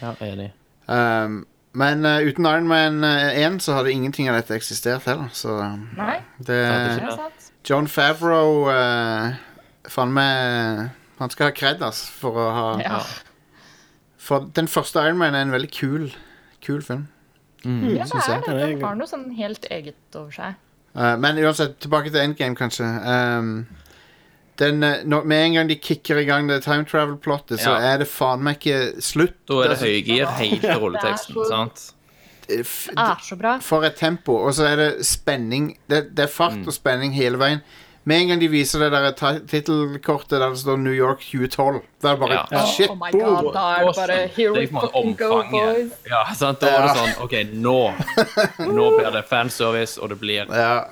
ja, enig. Um, men eh, uten Iron Man eh, 1 så hadde ingenting av dette eksistert heller, så eh, Nei, det hadde det Ja. er sant. John Favreau eh, Faen meg Han skal ha cred, ass, for å ha Ja. For den første Iron Man er en veldig kul Kul film. Mm, Ja, det synes jeg. er det. Den har noe sånn helt eget over seg. Eh, men uansett, tilbake til Endgame, kanskje. Um, den, eh, når, med en gang de kicker i gang det time travel-plottet, så Ja. er det faen meg ikke slutt. Da er det høygir helt til rulleteksten, Det er så- sant? Eh, f- Det er så bra. For et tempo, og så er det spenning. Det, det er fart Mm. og spenning hele veien. Med en gang de viser det der ta- tittelkortet der det står New York 2012, da er det bare Ja. shit, oh my boom! god, da er det bare Awesome. Here Det we er på en måte fucking go, omfanget. boys. Ja, sant? Da var det sånn OK, (laughs) nå Nå blir det fanservice, og det blir Ja.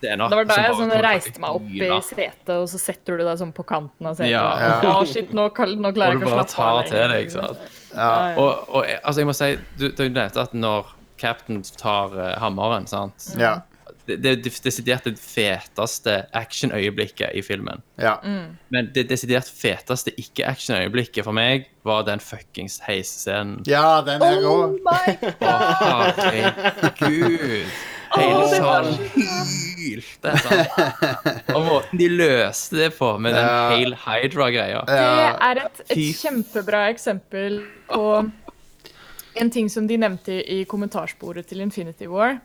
scener Det var da som jeg bare sånn, kommer til å reiste meg opp i hyre. setet, og så setter du deg sånn på kanten av setet. Ja. og bare, «Å, shit, nå, kal- nå klarer jeg Og du ikke bare å slappe av. liksom. tar til deg, ikke sant? Ja, ja. Og, og jeg- altså, jeg må si, du, du nevnte at når Captain tar eh, hammeren, sant? Ja. Det det er det desidert det feteste actionøyeblikket i filmen. ja. Mm. Men det desidert feteste ikke-actionøyeblikket for meg var den fuckings heisscenen. ja, den er rå. Oh my god, Å, herregud. Hele det var salen hylte. sant? Og måten de løste det på med den Ja. Hail Hydra-greia. det er et, et Fy. kjempebra eksempel på en ting som de nevnte i kommentarsporet til Infinity War,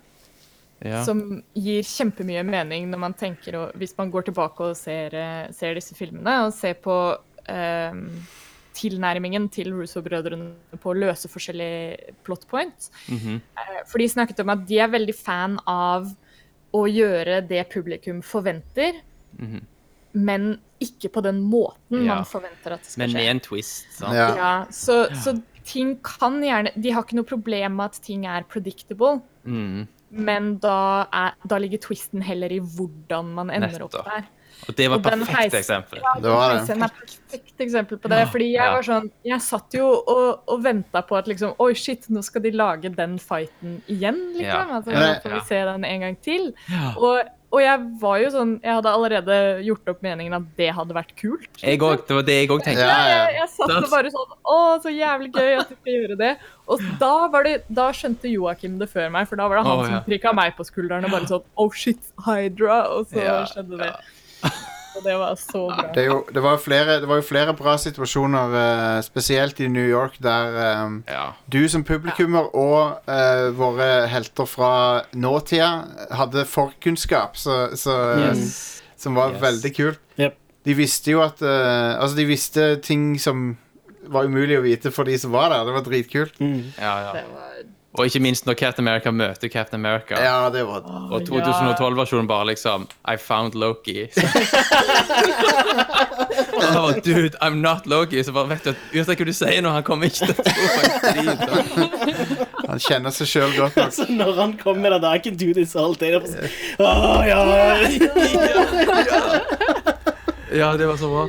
Ja. som gir kjempemye mening når man tenker, og hvis man går tilbake og ser, eh, ser disse filmene, og ser på eh, tilnærmingen til Russo-brødrene på å løse forskjellige plot points. Mhm. Eh, For de snakket om at de er veldig fan av å gjøre det publikum forventer, men ikke på den måten Mhm. Ja. man forventer at det skal Men skje. med en twist. sant? Ja. Ja, så, så ting kan gjerne De har ikke noe problem med at ting er predictable, Mm. men da, er, da ligger twisten heller i hvordan man ender Nettopp. opp der. Og det var Og et den heis- perfekt eksempel. Ja, Det var det. Heisen er et perfekt eksempel på det. Fordi jeg Ja. var sånn Jeg satt jo og, og venta på at liksom Oi, shit, nå skal de lage den fighten igjen, liksom. Ja. Altså, Ja. nå får vi Ja. se den en gang til. Ja. Og, og jeg var jo sånn Jeg hadde allerede gjort opp meningen at det hadde vært kult. Jeg òg. Det var det jeg òg Ja, tenkte. Ja, ja. jeg, jeg satt og bare sånn Å, så jævlig gøy at du skal gjøre det. Og da, var det, da skjønte Joakim det før meg, for da var det han Å, ja. som prikka meg på skulderen og bare sånn Oh shit, Hydra. Og så Ja, skjedde det. Og det var så bra. Det, er jo, det, var jo flere, det var jo flere bra situasjoner, eh, spesielt i New York, der eh, Ja. du som publikummer og eh, våre helter fra nåtida hadde forkunnskap, så, så, eh, Yes. som var Yes. veldig kult. Jep. De visste jo at eh, Altså, de visste ting som var umulig å vite for de som var der. Det var dritkult. Ja, ja. Det var Og ikke minst når Captain America møter Captain America. Ja, det var Og 2012-versjonen bare liksom I found Loki. Og så bare, Dude, I'm not Loki. Så bare vet du at uansett hva du sier nå, han kommer ikke til å tro faktisk det. Han kjenner seg sjøl godt (laughs) nok. Så Altså, når han kom med den der, I can do this all day, da var jeg sånn, Åh, ja. Ja, det var så bra.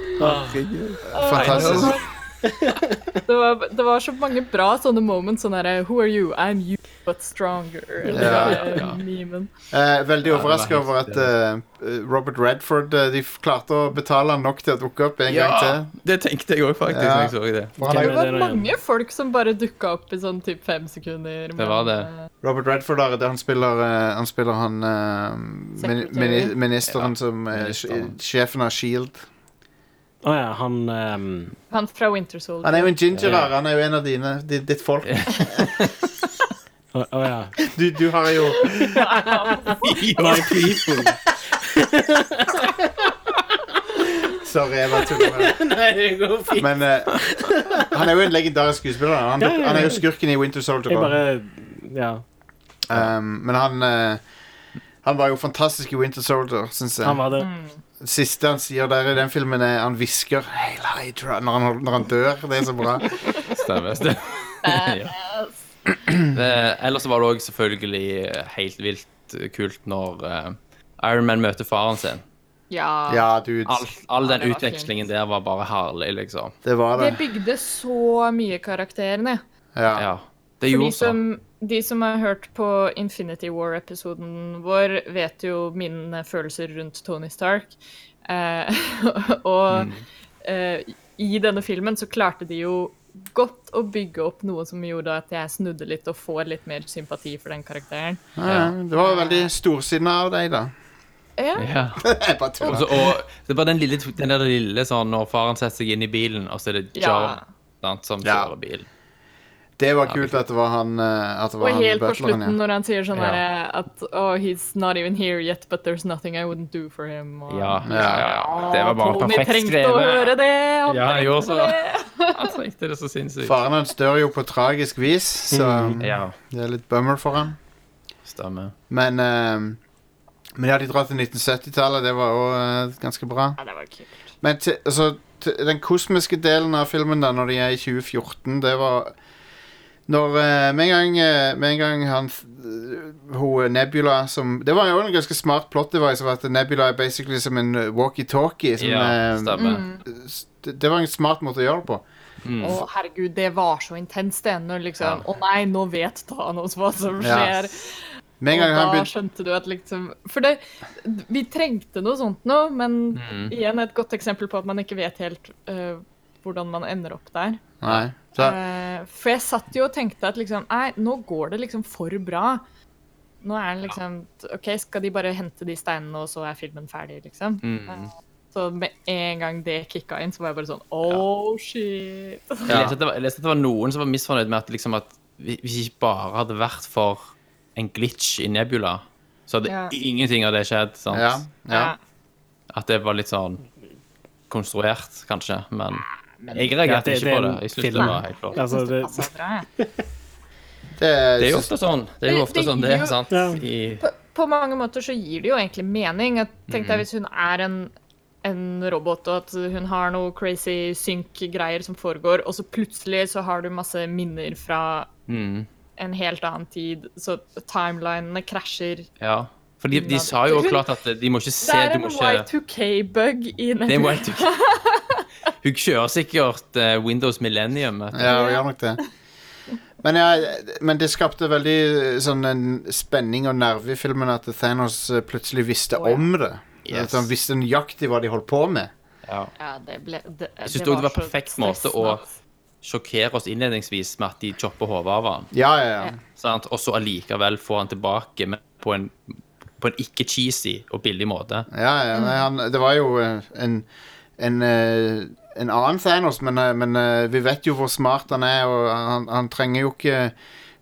Fantastisk. det var, det var så mange bra sånne moments. Sånn derre Who are you? I'm you, but stronger. Ja, Eller, ja. memen. Eh, veldig Ja, det var overraska helt over at eh, Robert Redford eh, De f- klarte å betale han nok til å dukke opp en Ja, gang til. det tenkte jeg òg, faktisk. Ja. når jeg så det. (laughs) For han Det er, Hvem er var det nå igjen? mange folk som bare dukka opp i sånn typ fem sekunder. men, var det. eh, Robert Redford der, det han spiller eh, Han spiller han eh, min, Secretary. mini- ministeren Ja, som eh, er ministeren. sj- sjefen av Shield. Å ja, han ehm, Han fra Winter Soldier. Han er (laughs) jo en gingerer. Han er jo en av dine. di- Ditt folk. Å å ja. Du, du har jo My people. Sorry, jeg bare tuller. med det. (laughs) Nei, det går fint. Men eh, han er jo en legendarisk skuespiller. da. Han, Ja, ja, ja. han er jo skurken i Winter Soldier. Jeg også. bare Ja. Um, men han eh, Han var jo fantastisk i Winter Soldier, syns jeg. Han var det. Siste han sier der i den filmen, er han hvisker Hail Hydra når han, hold- når han dør. Det er så (laughs) bra. Stemmer. stemmer. ja. Eh, Ellers så var det òg selvfølgelig eh, helt vilt kult når eh, Iron Man møter faren sin. Ja. Ja, dude. All, all den Ja, det var utvekslingen der var bare herlig, liksom. Det var Det det. bygde så mye karakterene. Ja. Ja. Det For gjorde de så. som, de som har hørt på Infinity War-episoden vår, vet jo mine følelser rundt Tony Stark. Eh, (laughs) og eh, i denne filmen så klarte de jo godt å bygge opp noe som gjorde at jeg snudde litt og får litt mer sympati for den karakteren. Ja, ja. Det var veldig storsinna av deg, da. Ja, Ja. Jeg bare Og, tuller. så, og det var den lille, den der lille sånn når faren setter seg inn i bilen, og så er Ja. det John sant, som Ja. kjører bilen. Det var kult at det var han eh, At det var Og han helt på butleren, slutten ja. når han sier sånn Ja. der, at oh, he's not even here yet, but there's nothing I wouldn't do for him. Og, Ja, ja, ja. Det var bare Tony perfekt trengte å høre skrevet. det! Han Ja, jeg gjorde trengte så. det. Han trengte det så sinnssykt. Faren hans dør jo på tragisk vis, så Mm. Ja, det er litt bummer for han. stemmer. Men eh, Men ja, de drar til 1970-tallet. Det var òg ganske bra. Ja, det var kult. Men til, altså, til, den kosmiske delen av filmen da, når de er i 2014, det var når, eh, med, en gang, eh, med en gang han eh, Hun Nebula som Det var jo en ganske smart plot device av at Nebula er basically som en eh, walkietalkie. som, Ja, eh, Mm. stemmer. s- det, det var en smart måte å gjøre det på. Mm. Å, herregud, det var så intenst, det. Når liksom Ja. Å nei, nå vet Thanos hva som Ja. skjer. Med en gang han og da begynte skjønte du at liksom For det, vi trengte noe sånt nå, men Mm. igjen et godt eksempel på at man ikke vet helt øh, hvordan man ender opp der. Nei. Så, Eh, for jeg satt jo og tenkte at liksom Nei, nå går det liksom for bra. Nå er det liksom OK, skal de bare hente de steinene, og så er filmen ferdig, liksom? Mm. Så med en gang det kicka inn, så var jeg bare sånn Oh, shit. Jeg leste, at det var, jeg leste at det var noen som var misfornøyd med at, liksom, at vi- hvis det ikke bare hadde vært for en glitch i Nebula, så hadde Ja. ingenting av det skjedd. Sant? ja, ja. (laughs) At det var litt sånn konstruert, kanskje. Men jeg Ja, reagerte det- det ikke er på det. en Jeg synes det film. var helt flott. Altså, det, Passer bra, jeg. Det, Det er jo ofte sånn. Det er jo Det- ofte det sånn det gir jo- er, sant? Ja. I, på, på mange måter så gir det jo egentlig mening. Jeg tenkte Mm. jeg hvis hun er en, en robot, og at hun har noe crazy synk-greier som foregår, og så plutselig så har du masse minner fra mm, en helt annen tid, så timelinene krasjer. ja. For de, de sa jo klart at de må ikke se Det er du en må ikke, Y2K-bug i Det er nettet. en white Hun kjører sikkert eh, Windows Millennium. eh, vet du. Ja, hun gjør nok det. Men, ja, men det skapte veldig eh, sånn en spenning og nerve i filmen at Thanos eh, plutselig visste Å, ja. om det. Yes. At han visste nøyaktig hva de holdt på med. Ja. Ja, det ble, det, Jeg synes det var så perfekt måte å- stressende, ass. Sjokkere oss innledningsvis med at de chopper hodet av han. Ja, ja, ja. sant? og så allikevel få han tilbake men på en, på en ikke cheesy og billig måte. ja, ja nei, han, det var jo eh, en, en, eh, en annen Thanos, men, eh, men eh, vi vet jo hvor smart han er, og han, han trenger jo ikke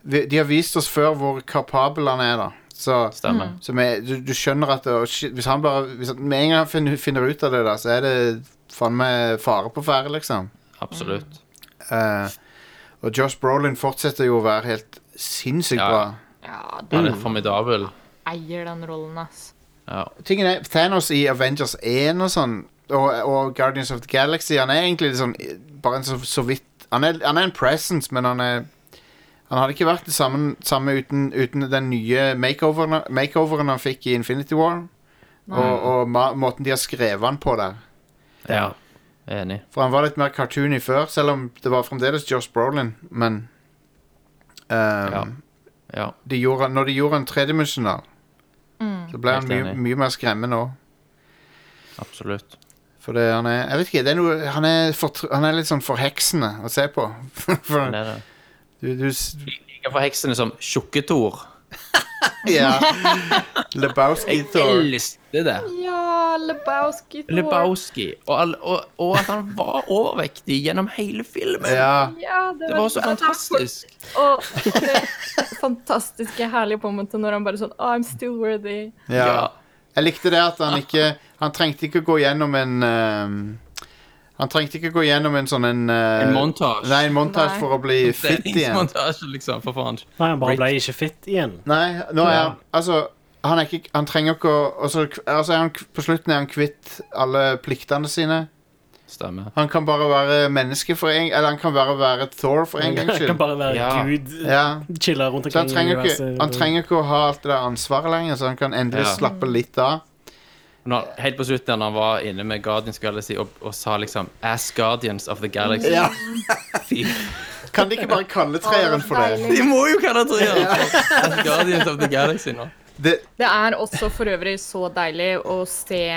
vi, De har vist oss før hvor kapabel han er, da. Så, Stemmer. så med, du, du skjønner at det, å, shit, hvis han bare hvis han, Med en gang han finner, finner ut av det, da, så er det faen meg fare på ferde, liksom. Absolutt. Eh, og Josh Brolin fortsetter jo å være helt sinnssykt Ja. bra. Ja, den Han er formidabel. eier den rollen, ass. Ja. Tingen er, Thanos i Avengers 1 og sånn, og, og Guardians of the Galaxy, han er egentlig litt sånn bare en så, så vidt han er, han er en presence, men han er han hadde ikke vært det samme, samme uten, uten den nye makeoveren, makeoveren han fikk i Infinity War. Mm. Og, og ma, måten de har skrevet han på der. ja. Jeg er Enig. For han var litt mer cartoony før, selv om det var fremdeles Josh Brolin, men ehm, Ja. Ja. Mm. de gjorde, han- Når de gjorde han tredimensjonal, så ble han Helt mye, enig. mye mer skremmende òg. Absolutt. For det, han er Jeg vet ikke, det er noe Han er, fortr- han er litt sånn forheksende å se på. (laughs) Det For er det. du, du s- Jeg får heksene som Tjukke-Tor. Ja. Jeg Lebowski-Thor. elsker det. Ja, Lebowski Thor. Lebowski. Og, all- og, og at han var overvektig gjennom hele filmen. Ja. Ja, det, Det var så fantastisk. Og det fantastiske herlige momentet når han bare sånn I'm still worthy. ja. Jeg likte det at han ikke Han trengte ikke å gå gjennom en ehm, Han trengte ikke å gå gjennom en sånn en eh, En montasje. Nei, en montasje Nei. for å bli fit igjen. Treningsmontasje, liksom, for faen. Nei, han bare ble ikke fit igjen. Nei, nå er Ja. han Altså, han er ikke Han trenger ikke å og så- altså er han, k- På slutten er han kvitt alle pliktene sine. Stemmer. Han kan bare være menneske for en Eller han kan bare være Thor for en gangs Han kan skyld. bare være Ja. gud. Ja. Chille rundt Så han omkring. i trenger, ikke, universet. liksom. han trenger ikke å ha alt det der ansvaret lenger, så han kan endelig Ja. slappe litt av. Når, helt på slutten, når han var inne med Guardians Galaxy og, og sa liksom As Guardians of the Galaxy. Ja. Fy. (laughs) Kan de ikke bare kalle treeren for det? De må jo kalle det As Altså, Guardians of the Galaxy nå. det Det er også for øvrig så deilig å se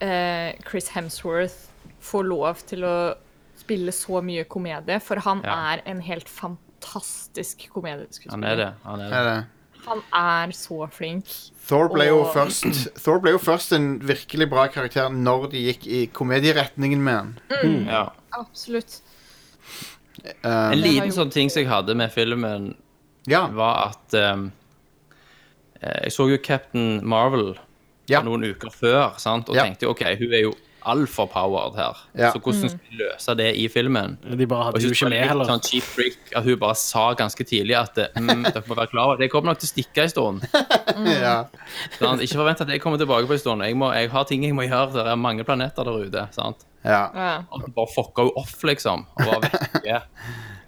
eh, Chris Hemsworth få lov til å spille så mye komedie, for han Ja. er en helt fantastisk komedieskuespiller. Han er det. Han er det. er det. Han er så flink. Thor ble, jo Og- først, Thor ble jo først en virkelig bra karakter når de gikk i komedieretningen med han. Ja. Absolutt. Eh, En liten sånn ting som jeg hadde med filmen, ja, var at ehm, eh, Jeg så jo Captain Marvel ja, noen uker før sant? og Ja. tenkte jo, OK, hun er jo altfor powered her. Ja. Så hvordan skal vi løse det i filmen? De bare Og hadde jo jeg synes ikke det med var litt heller. sånn cheap freak at hun bare sa ganske tidlig at eh, mm, dere må være klar over det. Jeg kommer nok til å stikke en stund. ja. Sant? Ikke forvent at jeg kommer tilbake på en stund. Jeg, må, jeg har ting jeg må gjøre. Det er mange planeter der ute. sant? ja. Ja. Og hun bare fucka jo off, liksom. Og var vekke.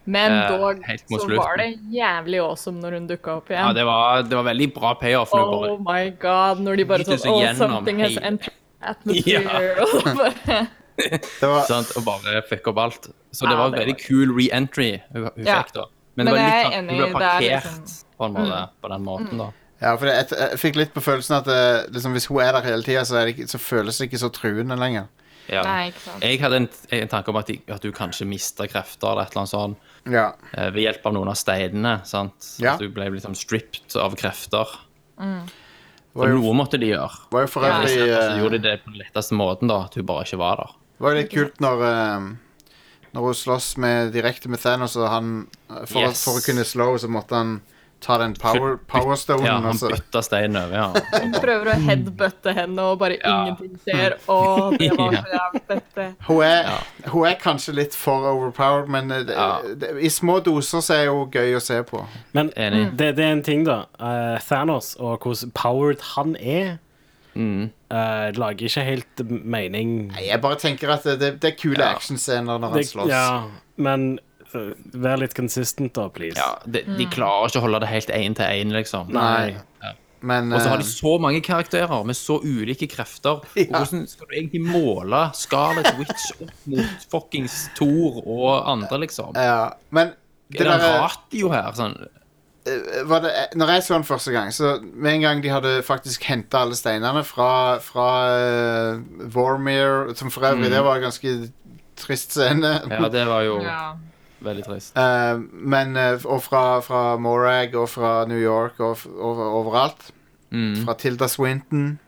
Men Eh, dog helt mot så slutten. var det jævlig awesome når hun dukka opp igjen. Ja, det var, det var veldig bra payoff. når hun Oh my bare- god, når de bare Gikk det sånn så Oh, gjennom something has hele- (laughs) entered atmosphere. (laughs) Og så bare, Det var, sant? Og bare fucke opp alt. Så det Ja, var det veldig var- kul re-entry hun, hun Ja. fikk, da. Men, Men det var jeg er litt at hun enig, ble det er parkert liksom- Mm. på en måte, på den måten, da. ja, for jeg, jeg fikk litt på følelsen at eh, liksom, hvis hun er der hele tida, så, er det ikke- så føles det ikke så truende lenger. Ja. nei, ikke sant. Jeg hadde en, en tanke om at, de, at du kanskje mista krefter eller et eller annet sånt. Ja. eh, ved hjelp av noen av steinene. sant? Ja. At du ble liksom stripped av krefter. Det Og var jo, noe måtte de gjøre. var jo for Ja. øvrig Så eh, altså, gjorde de det på den letteste måten, da, at hun bare ikke var der. Det var jo litt kult når eh, Når hun slåss med, direkte med Thanos og han, eh, for, Yes. for å kunne slå henne, så måtte han ta den power, powerstonen. Ja, Han altså. bytta steinen over, (laughs) ja. Hun Og bare- prøver å headbutte henne, og bare Ja. ingenting skjer. Å, det var så jævlig fett. det. hun, er, hun er kanskje litt for overpowered, men eh, det, Ja. det, i små doser så er hun gøy å se på. Men Enig. det, det er en ting, da. Eh, Thanos og hvordan powered han er, Mm. eh, lager ikke helt mening. Jeg bare tenker at det, det, det er kule Ja. actionscener når han Det, slåss. ja, men eh, vær litt consistent, da, please. ja de, de klarer ikke å holde det helt én til én, liksom. Nei. Men Og så har eh, de så mange karakterer med så ulike (laughs) krefter. Og hvordan skal du egentlig måle Scarlet Witch opp mot fuckings Thor og andre, liksom? Er ja. Men det Eh, det en der, ratio her? sånn? eh, var det, når jeg så den første gang, så med en gang de hadde faktisk henta alle steinene fra, fra eh, Vormir, som for øvrig det var en ganske trist scene. Mm. Ja, det var jo Ja. veldig trist. (laughs) Eh, men, eh, og fra, fra Morag og fra New York og, f- og overalt. Mm. Fra Tilda Swinton.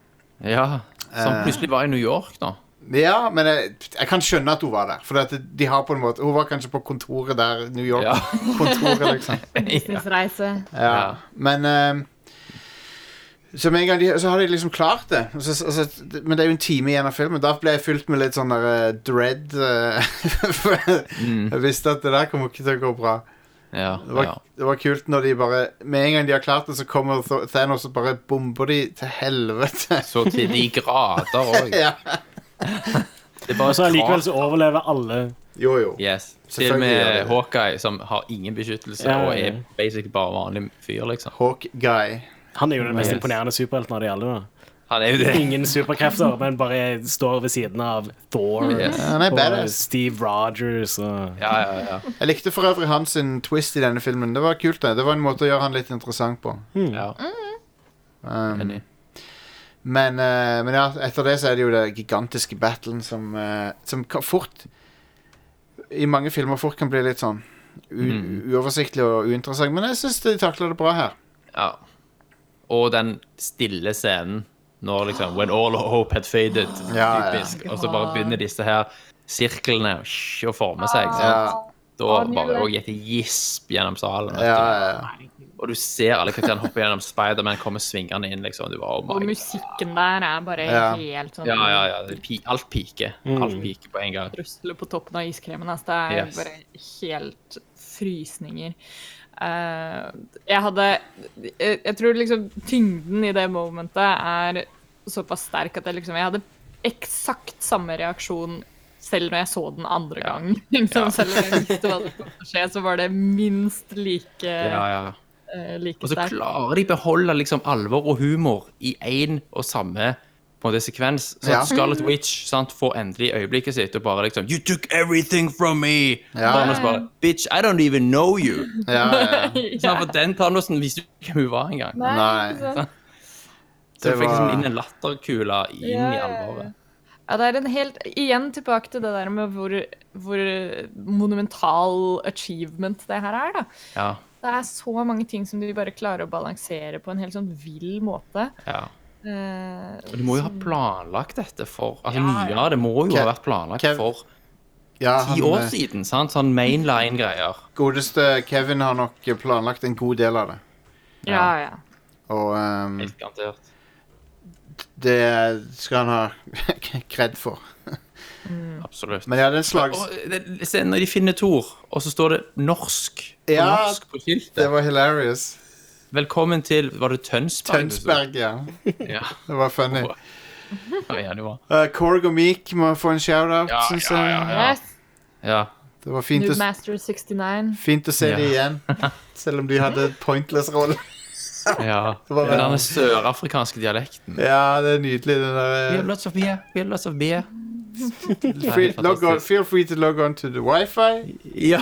Ja, Som Eh. plutselig var i New York, da. Ja, men jeg, jeg kan skjønne at hun var der. For at de har på en måte Hun var kanskje på kontoret der. New Ja. York-kontoret, liksom. Businessreise. Ja. Ja. Men eh, så med en gang de, så har de liksom klart det. Og så, og så, men det er jo en time igjen av filmen. Da ble jeg fylt med litt sånn der eh, dread. eh, (laughs) for jeg visste at det der kommer ikke til å gå bra. Ja, Det var, Mm. ja. det var kult når de bare Med en gang de har klart det, så kommer Thor- Thanos og bare bomber de til helvete. (laughs) Så til de grader òg. ja. Det er bare Og så allikevel klart. så overlever alle. Jo, jo. Yes. Til og Selvfølgelig gjør med det. Hawkeye, som har ingen beskyttelse Ja, ja, og ja. er basically bare vanlig fyr, liksom. Hawkeye. Han er jo den mest Yes. imponerende superhelten av de alle. da Han er jo det. Ingen superkrefter, men bare står ved siden av Thor Yes. Ja, han er og badass. Steve Rogers og (laughs) Ja, ja, ja. Jeg likte for øvrig hans sin twist i denne filmen. Det var kult det. Det var en måte å gjøre han litt interessant på. Mm. ja. Um, Enig. men, eh, men ja, etter det så er det jo det gigantiske battlen som, eh, som ka- fort I mange filmer fort kan bli litt sånn u Mm. uoversiktlig og uinteressant. Men jeg syns de takla det bra her. ja. Og den stille scenen Når liksom When all hope had faded. (gasps) Ja, ja. typisk. Og så bare begynner disse her sirklene å forme seg. sant? Ah. Ja. Da bare og gikk det gisp gjennom salen. Ja, vet ja, ja. du. Og du ser alle karakterene hoppe gjennom Spiderman kommer svingende inn, liksom. Du bare, oh Og my God. musikken der er bare Ja. helt sånn Ja, ja, ja. det er pi- Alt piker. Alt piker på en gang. Rusler på toppen av iskremen. Altså, det er Yes. bare helt frysninger. Eh, jeg hadde jeg, jeg tror liksom tyngden i det momentet er såpass sterk at jeg liksom Jeg hadde eksakt samme reaksjon selv når jeg så den andre Ja. gang. (laughs) Liksom, Ja. Selv om jeg visste hva som kom til å skje, så var det minst like, Ja, ja. eh, like Og så (laughs) sterkt. klarer de beholde liksom alvor og humor i én og samme på en måte, sekvens. Så Ja. at Scarlet Witch sant, får endelig øyeblikket sitt og bare liksom You took everything from me! Ja. Thanos bare Bitch, I don't even (laughs) know you! ja, ja. Ja. For den Thanosen visste jo ikke hvem hun var engang. Nei. ikke sant? Så Det hun fikk liksom var- inn en latterkule inn Ja, ja, i ja. alvoret. Ja, det er en helt Igjen tilbake til det der med hvor, hvor monumental achievement det her er, da. Ja, Det er så mange ting som de bare klarer å balansere på en helt sånn vill måte. ja. Eh, Og de må jo ha planlagt dette for Altså, Ja, ja. mye av det må jo Kev- ha vært planlagt Kev- for ja ti år han, eh, siden, sant? Sånn mainline-greier. godeste Kevin har nok planlagt en god del av det. ja, ja. Og ehm, Helt garantert. det skal han ha (laughs) kred for. Mm. Absolutt. Men ja, det er en slags Og eh, det- se, når de finner Thor, og så står det norsk på, Ja, norsk på skiltet. Det var hilarious. Velkommen til Var det Tønsberg? du sa? Tønsberg, ja. Ja. Det var funny. Ja, ja, det var. Uh, Korg og Meek må få en shout-out, Ja, syns ja, jeg. ja, ja. Yes! ja. Det var fint å, Noobmaster 69. fint å se Ja. dem igjen. Selv om de hadde pointless rolle. (laughs) ja. var Den bra. der sørafrikanske dialekten. Ja, det er nydelig, den We have der. lots of beer, we have lots of beer. eh, (laughs) Free, fantastisk. log on, feel free to log on to the wifi. Ja.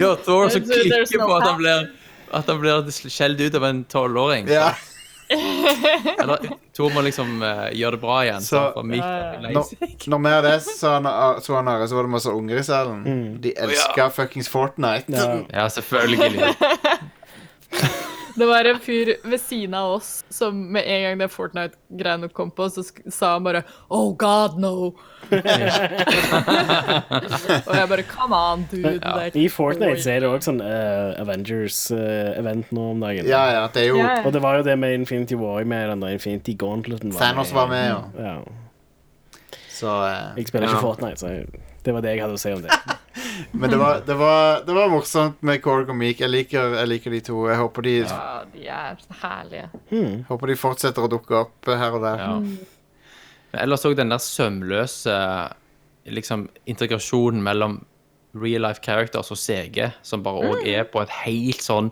ja, Thor som There's- there's klikker no på at han path. blir at han blir skjelt ut av en tolvåring. Ja. Eller Thor må liksom eh, gjøre det bra igjen. Så- sant, for Meek er lei Når, seg. når vi hadde så han, ah, så han her, så var det masse unger i salen. De elska fuckings Fortnite. Ja. Ja, selvfølgelig. Det var en fyr ved siden av oss som med en gang det Fortnite-greiene kom på, så sk sa han bare Oh God, no! Og jeg bare Come on, dude. det er ikke I Fortnite noe- så er det også sånn Avengers-event nå om dagen. Ja, ja, det er jo Ja, ja. Og det var jo det med Infinity War med den der Infinity Gauntleten. Thanos var med, ja. Ja. Så eh, Jeg spiller ikke Ja. Fortnite, så jeg- det var det jeg hadde å si (laughs) om det. Men det var, det, var, det var morsomt med Korg og Meek. Jeg liker, jeg liker de to. Jeg håper de, Ja, de er herlige. håper de fortsetter å dukke opp eh, her og der. Ja. Men ellers òg den der sømløse liksom, integrasjonen mellom real life characters og CG, som bare òg er på et helt sånn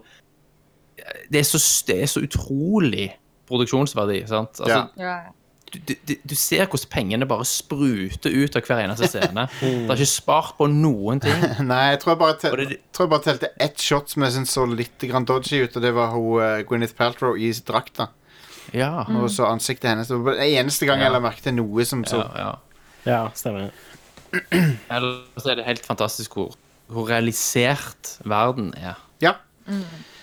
Det er så, det er så utrolig produksjonsverdi, sant? Altså, Ja. Ja, du, du, du ser hvordan pengene bare spruter ut av hver eneste scene. Det er ikke spart på noen ting. (laughs) Nei, jeg tror jeg bare, tel Og det- tror jeg bare telte ett shot som jeg syntes så litt grann dodgy ut, og det var hun eh, Gwyneth Paltrow i drakta. Ja, Og så ansiktet hennes. Det var bare den eneste gang Ja. jeg la merke til noe som så ja, ja. Ja, stemmer. Ellers er det helt fantastisk hvor, hvor realisert verden er. Ja.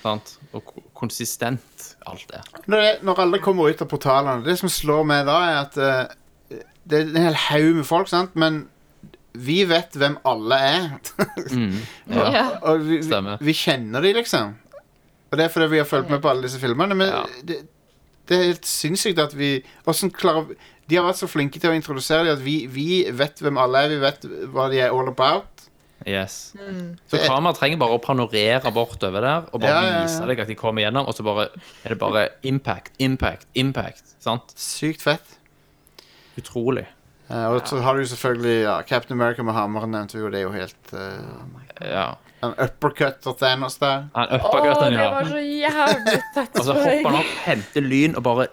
Sant? Og ko- konsistent alt er. Når, jeg, når alle kommer ut av portalene Det som slår meg da, er at eh, det er en hel haug med folk, sant, men vi vet hvem alle er. (laughs) Ja. Og vi, vi, Stemmer. vi kjenner de, liksom. Og det er fordi vi har fulgt med på alle disse filmene. Men Ja. det, det er helt sinnssykt at vi hvordan klarer, De har vært så flinke til å introdusere dem at vi, vi vet hvem alle er. Vi vet hva de er all about. Yes. Så kameraet trenger bare å panorere bortover der og bare Mm. Ja, ja, ja. vise deg at de kommer gjennom, og så bare, er det bare impact, impact, impact. Sant? Sykt fett. Utrolig. Eh, og så har du jo selvfølgelig ja, Captain America med hammeren, nevnte vi jo. Det er jo helt eh, Ja. En uppercut og Thanos der. Han Å, upper gutten, det var ja. så Altså, jævlig Og så hopper satisfying. han (laughs) opp, henter lyn og bare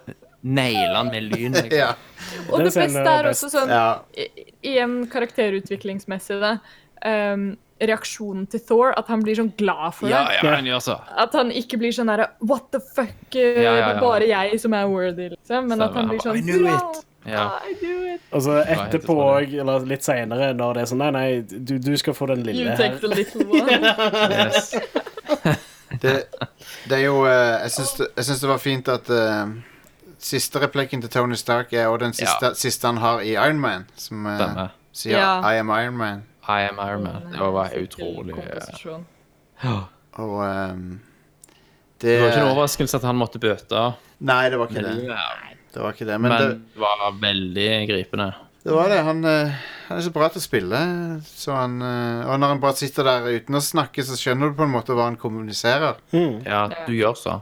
nailer han med lyn. Liksom. Ja. (laughs) Og det Den scenen beste var er best. også sånn ja. i- Igjen karakterutviklingsmessig, da. ehm, reaksjonen til Thor, at han blir sånn glad for Ja, det. ja, han gjør så. At han ikke blir sånn derre What the fuck, eh, Ja, ja, det er ja. bare jeg som er worthy, liksom. Men at han blir sånn I knew «Hurra, it! Ja. I knew it. Og så helt Altså, etterpå utrolig. òg, eller litt seinere, når det er sånn Nei, nei, du, du skal få den You lille her. take the (laughs) little one. Ah. Yes. Det, det er jo eh, Jeg syns det, jeg syns det var fint at eh, siste replikken til Tony Stark er også den siste, siste han har i Iron Man, som eh, Stemmer. sier Ja. I am Iron Man. I am Iron Man. Det var bare utrolig eh, Komposisjon. ja. Og ehm, det Det var ikke en overraskelse at han måtte bøte. Nei, det var ikke det. Ja, det, var ikke det. Men, Men det, det var veldig gripende. det var det. Han, eh, han er så bra til å spille, så han eh, Og når han bare sitter der uten å snakke, så skjønner du på en måte hva han kommuniserer. Ja, du gjør så.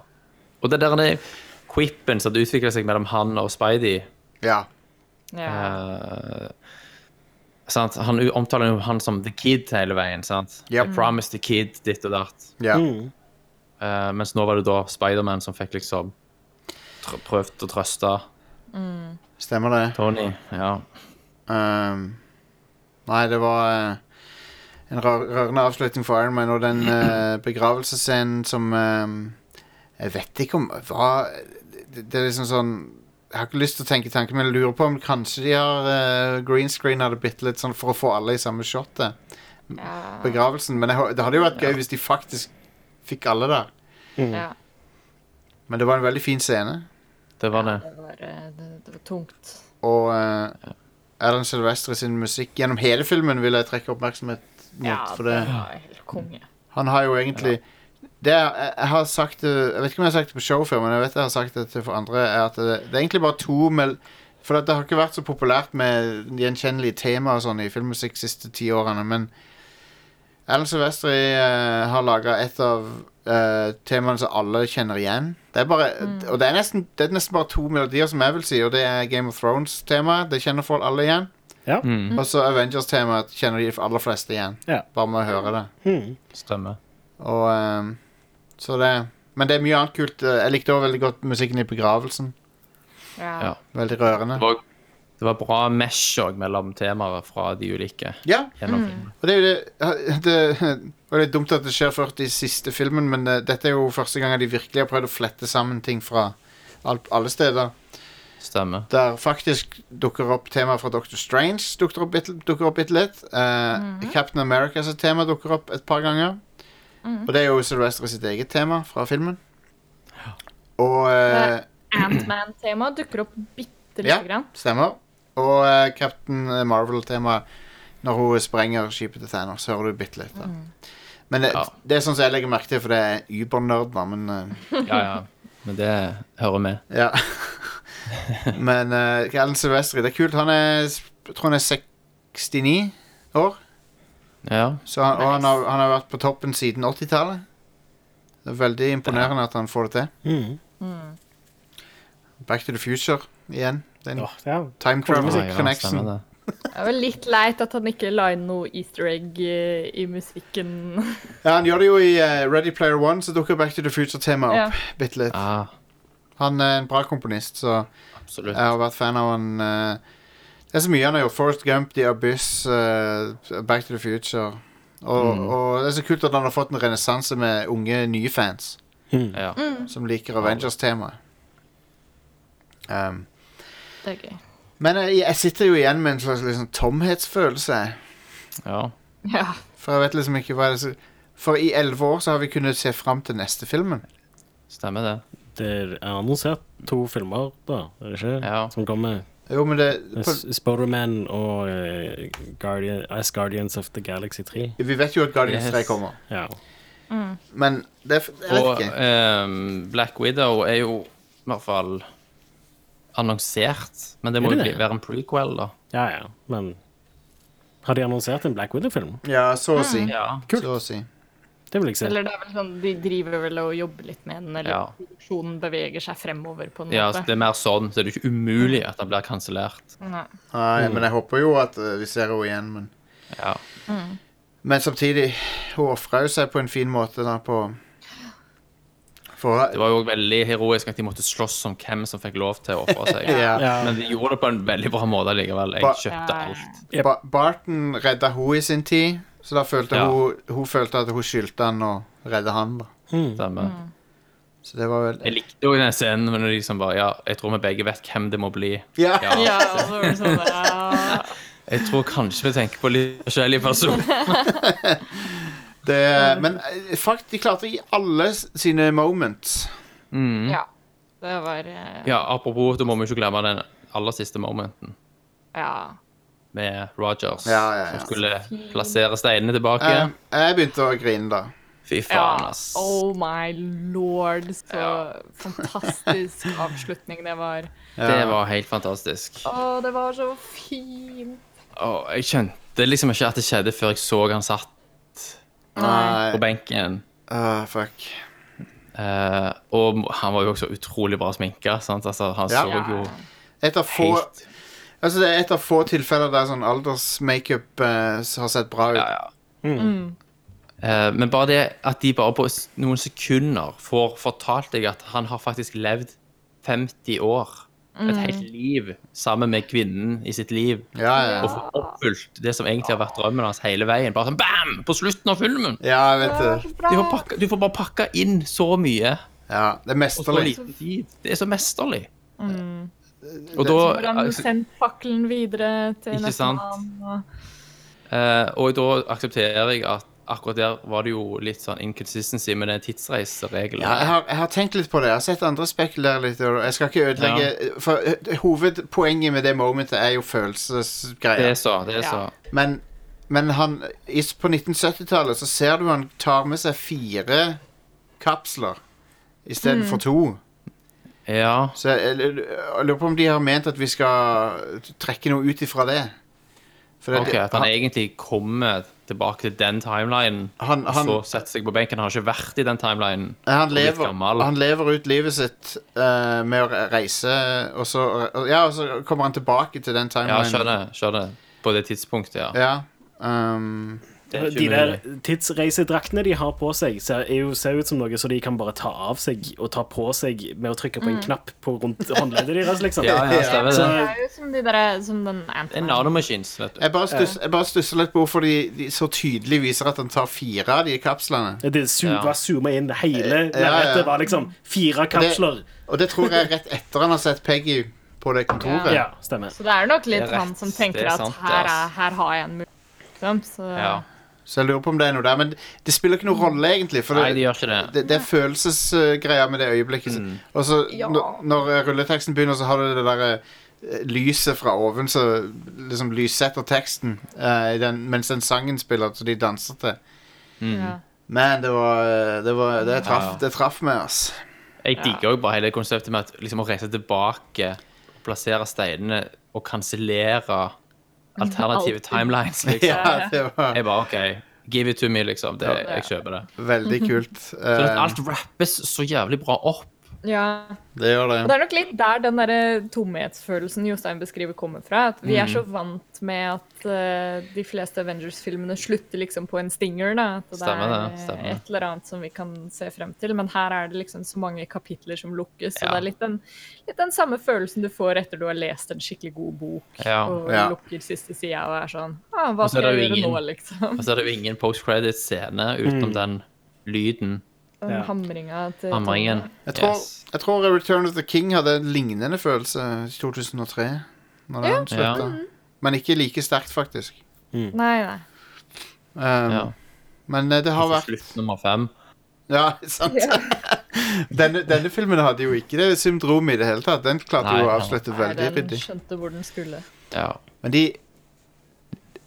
Og det der det quippen som hadde utvikla seg mellom han og Spidey Ja. Ja. eh, sant? Han u- omtaler jo han som the kid hele veien. sant? Yep. I promised the kid ditt og datt. ja. Eh, mens nå var det da Spiderman som fikk liksom tr prøvd å trøste Stemmer det. Tony. Ja. Ehm, nei, det var eh, en rør, rørende avslutning for Iron Man og den eh, begravelsesscenen som ehm, Jeg vet ikke om hva det, det er liksom sånn Jeg har ikke lyst til å tenke tanken, men jeg lurer på om kanskje de har eh, green screen av det bitte litt sånn for å få alle i samme shotet. Begravelsen. Men jeg, hå- det hadde jo vært gøy hvis de faktisk fikk alle der. ja. Men det var en veldig fin scene. Det var det. Det var, eh, det, det var tungt. Og eh, Alan Silvestre sin musikk gjennom hele filmen vil jeg trekke oppmerksomhet mot. Ja, for det, var helt konge. Han har jo egentlig det er, jeg, jeg har sagt det Jeg vet ikke om jeg har sagt det på show før, men jeg vet jeg har sagt det til for andre. Er at øh, det, det er egentlig bare to mel For at det har ikke vært så populært med gjenkjennelige tema og sånn i filmmusikk de siste ti årene, men Alan Silvestri eh, har laga et av eh, temaene som alle kjenner igjen. Det er bare, Og det er, nesten, det er nesten bare to melodier, som jeg vil si, og det er Game of Thrones-temaet. Det kjenner folk alle igjen. Ja. Mm. Og så Avengers-temaet kjenner de aller fleste igjen. Ja. Bare med å høre det. Stemmer. Og ehm, Så det Men det er mye annet kult. Eh, Jeg likte også veldig godt musikken i begravelsen. Ja. Ja. Veldig rørende. Det var, det var bra mesh òg mellom temaer fra de ulike. Ja, Gjennom filmen. og det (laughs) er jo det Det var litt dumt at det skjer først i siste filmen, men eh, dette er jo første gang de virkelig har prøvd å flette sammen ting fra alt, alle steder. Stemmer. Der faktisk dukker opp temaet fra Dr. Strange dukker opp bitte, dukker opp bitte litt. Eh, Captain Americas tema dukker opp et par ganger. Og det er jo Sylvester sitt eget tema fra filmen. Og eh, Ant-Man-temaet dukker opp bitte lite Ja. grann. Stemmer. Og eh, Captain Marvel-temaet når hun sprenger skipet til Thanos, hører du bitte litt. da. Men det, Ja. det er sånn som jeg legger merke til, for det er übernerd, da, men eh, Ja, ja. Men det hører med. (laughs) Ja. men uh, Alan Silvestri, det er kult. Han er jeg tror han er 69 år, Ja. så han, og han har, han har vært på toppen siden 80-tallet. Det er veldig imponerende at han får det til. Mm. Back to the future igjen. Den Åh, ja. time travel Ja, ja, connection. stemmer det. Det er vel litt leit at han ikke la inn noe easter egg eh, i musikken. Ja, han gjør det jo i eh, Ready Player One, så dukker Back to the Future-temaet Ja. opp. Bitte litt. Ja, Han er en bra komponist, så absolutt. jeg har vært fan av han. eh, det er så mye han har gjort. Forest Gump, The Abyss, eh, Back to the Future. Og, Mm. og det er så kult at han har fått en renessanse med unge, nye fans Ja. som liker Avengers-temaet. Um, Det er gøy. men jeg, jeg sitter jo igjen med en slags liksom, tomhetsfølelse. ja. Ja. For jeg vet liksom ikke hva det er så For i elleve år så har vi kunnet se fram til neste filmen. Stemmer det. Det er annonsert to filmer, da, er det ikke? Ja. Som kommer. Jo, men det på, Spoderman og eh, Guardian, As Guardians of the Galaxy 3. Vi vet jo at Guardians Yes. 3 kommer, Ja. men det er, f- jeg vet Og ikke. ehm, Black Widow er jo i hvert fall annonsert. Men det Er må det jo det? bli, være en prequel, da. ja, ja. Men har de annonsert en Black Widow-film? Ja, så å si. Ja. Kult. Så å si. Det vil jeg se. Eller det er vel sånn, de driver vel og jobber litt med den, eller Ja. produksjonen beveger seg fremover på en ja så måte. det er mer sånn, så er det jo ikke umulig at den blir kansellert. Nei. Nei, men jeg håper jo at eh, vi ser henne igjen, men Ja. Men samtidig, hun ofra jo seg på en fin måte da på For Det var jo også veldig heroisk at de måtte slåss om hvem som fikk lov til å ofre seg. (laughs) ja. Ja. Men de gjorde det på en veldig bra måte likevel. Ba- Jeg kjøpte Ja. alt. ba Barton redda hun i sin tid, så da følte Ja. hun Hun følte at hun skyldte han å redde han, da. Stemmer. Så det var vel Jeg likte jo den scenen men når de liksom bare Ja, jeg tror vi begge vet hvem det må bli. Ja! Ja. Ja, og så var det sånn, (laughs) ja. Jeg tror kanskje vi tenker på litt forskjellige personer. Det, Mm. men eh, faktisk, de klarte å gi alle s- sine moments. ja. Det var eh, Ja, apropos, da må vi ikke glemme den aller siste momenten ja. med Rogers, Ja, ja, ja. som skulle plassere steinene tilbake. Eh, jeg begynte å grine da. Fy faen, Ja, ass. oh my lord, så Ja. fantastisk avslutning det (laughs) var. Det var helt fantastisk. Å, det var så fint. Og jeg skjønte liksom ikke at det skjedde før jeg så han satt Nei. på benken. Ah, fuck. Eh, og han var jo også utrolig bra sminka. Sant? Altså, han Ja. så jo Et av få, helt altså, det er et av få tilfeller der sånn aldersmakeup eh, har sett bra ut. Ja, ja. Mm. Eh, men bare det at de bare på s- noen sekunder får fortalt deg at han har faktisk levd 50 år, et helt liv, sammen med kvinnen i sitt liv, Ja, ja. og får oppfylt det som egentlig har vært drømmen hans hele veien. Bare sånn bam! På slutten av filmen! ja, jeg vet det. Bra. Du får, pakka, du får bare pakka inn så mye Ja, det er på så mesterlig. liten tid. Det er så mesterlig. Og Det- da Hvordan du sendte fakkelen videre til altså, Ikke neste sant? mann. og- Eh, og da aksepterer jeg at akkurat der var det jo litt sånn inconsistency med den tidsreiseregelen. Ja, jeg har, jeg har tenkt litt på det. Jeg har sett andre spekulere litt. og Jeg skal ikke ødelegge For eh, hovedpoenget med det momentet er jo Det følelsesgreier. er så. det er Ja. så. Men, men han i- På 1970-tallet så ser du han tar med seg fire kapsler istedenfor to. Ja. Så jeg, jeg, jeg lurer på om de har ment at vi skal trekke noe ut ifra det. For det, Ok, At han han, egentlig kommer tilbake til den timelinen, Han- og han- så setter seg på benken. Han har ikke vært i den timelinen. han, litt lever, gammel. han lever ut livet sitt eh, med å re- reise, og så, og- ja, og så kommer han tilbake til den Ja, timelinen. skjønner. skjønner. På det tidspunktet, ja. Ja, ehm, Det er ikke De der mulig. tidsreisedraktene de har på seg, ser, er jo, ser ut som noe så de kan bare ta av seg og ta på seg med å trykke på en knapp på rundt håndleddet deres, liksom. Ja, ja, Ja, men stemmer det det. er jo som, de der, som den Det er Ant-Man. nanomaskins, vet du. jeg bare stuss- jeg bare stusser litt på hvorfor de, de så tydelig viser at han tar fire av de kapslene. Det su Ja. var zooma inn hele Eh, Ja, ja. lerretet. var liksom fire kapsler. Og det tror jeg er rett etter han har sett Peggy på det kontoret. Ja, stemmer. Så det er nok litt Det er han rett. som Det tenker er at sant, det, her, ass. er, her har jeg en mulighet. liksom, Så Ja. Så jeg lurer på om det er noe der. Men det spiller ikke noe rolle, egentlig. For Nei, de det, gjør ikke det. det, det er følelsesgreier med det øyeblikket. Mm. Og så Ja. når, når rulleteksten begynner, så har du det derre eh, lyset fra oven som liksom lyssetter teksten eh, i den, mens den sangen spiller, så de danser til. Mm. ja. Man, det var eh, Det, var, det, traff, Ja, ja. det traff meg, ass. Jeg digger jo bare hele konseptet med at liksom å reise tilbake, plassere steinene og kansellere alternative Alltid. timelines. Liksom. Ja, det var Jeg bare OK, give it to me, liksom. Det, jeg kjøper det. veldig kult. (laughs) Så Eh, at alt rappes så jævlig bra opp. ja. det gjør Og det. det er nok litt der den derre tomhetsfølelsen Jostein beskriver, kommer fra. At vi er Mm. så vant med at eh, de fleste Avengers-filmene slutter liksom på en stinger. da. At det Stemmer er det, eh, stemmer. et eller annet som vi kan se frem til. Men her er det liksom så mange kapitler som lukkes. Så Ja. det er litt den, litt den samme følelsen du får etter du har lest en skikkelig god bok. Ja. Og Ja. lukker siste sida og er sånn ah, Hva Og så er skal jeg det jo gjøre nå, ingen- liksom? (laughs) Og så er det jo ingen post-credit-scene utenom Mm. den lyden. Den Ja. hamringa til Hamringen. Jeg tror, Yes. jeg tror Return of the King hadde en lignende følelse i 2003. Når den slutta. Men ikke like sterkt, faktisk. Nei, nei. Um, Ja. Men eh, det har Så vært Slutt nummer fem. Ja, (laughs) sant. denne, denne filmen hadde jo ikke det syndromet i det hele tatt. Den klarte Nei, jo å nei. avslutte nei. veldig Den ryddig. skjønte hvor den skulle. Ja. Men de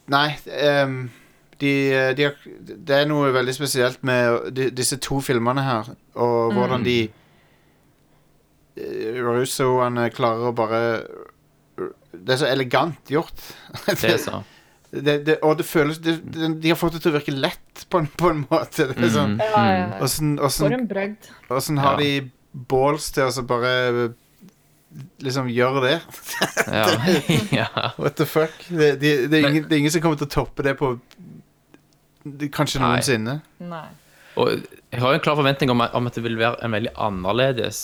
Nei, ehm, de, de har, Det er noe veldig spesielt med de, disse to filmene her, og Mm. hvordan de eh, Russoene klarer å bare Det er så elegant gjort. (laughs) Det er sånn. så. det, det, og det føles det, det, De har fått det til å virke lett, på en, på en måte. Det er sånn, Ja, ja, ja. Åssen- åssen- For en bragd. Åssen sånn har Ja. de balls til å så bare liksom gjøre det? (laughs) Ja. (laughs) ja. What the fuck? Det, de, det, er, ingen, det er ingen som kommer til å toppe det på det- Kanskje Nei. noensinne. Nei. Og jeg har jo en klar forventning om, om at det vil være en veldig annerledes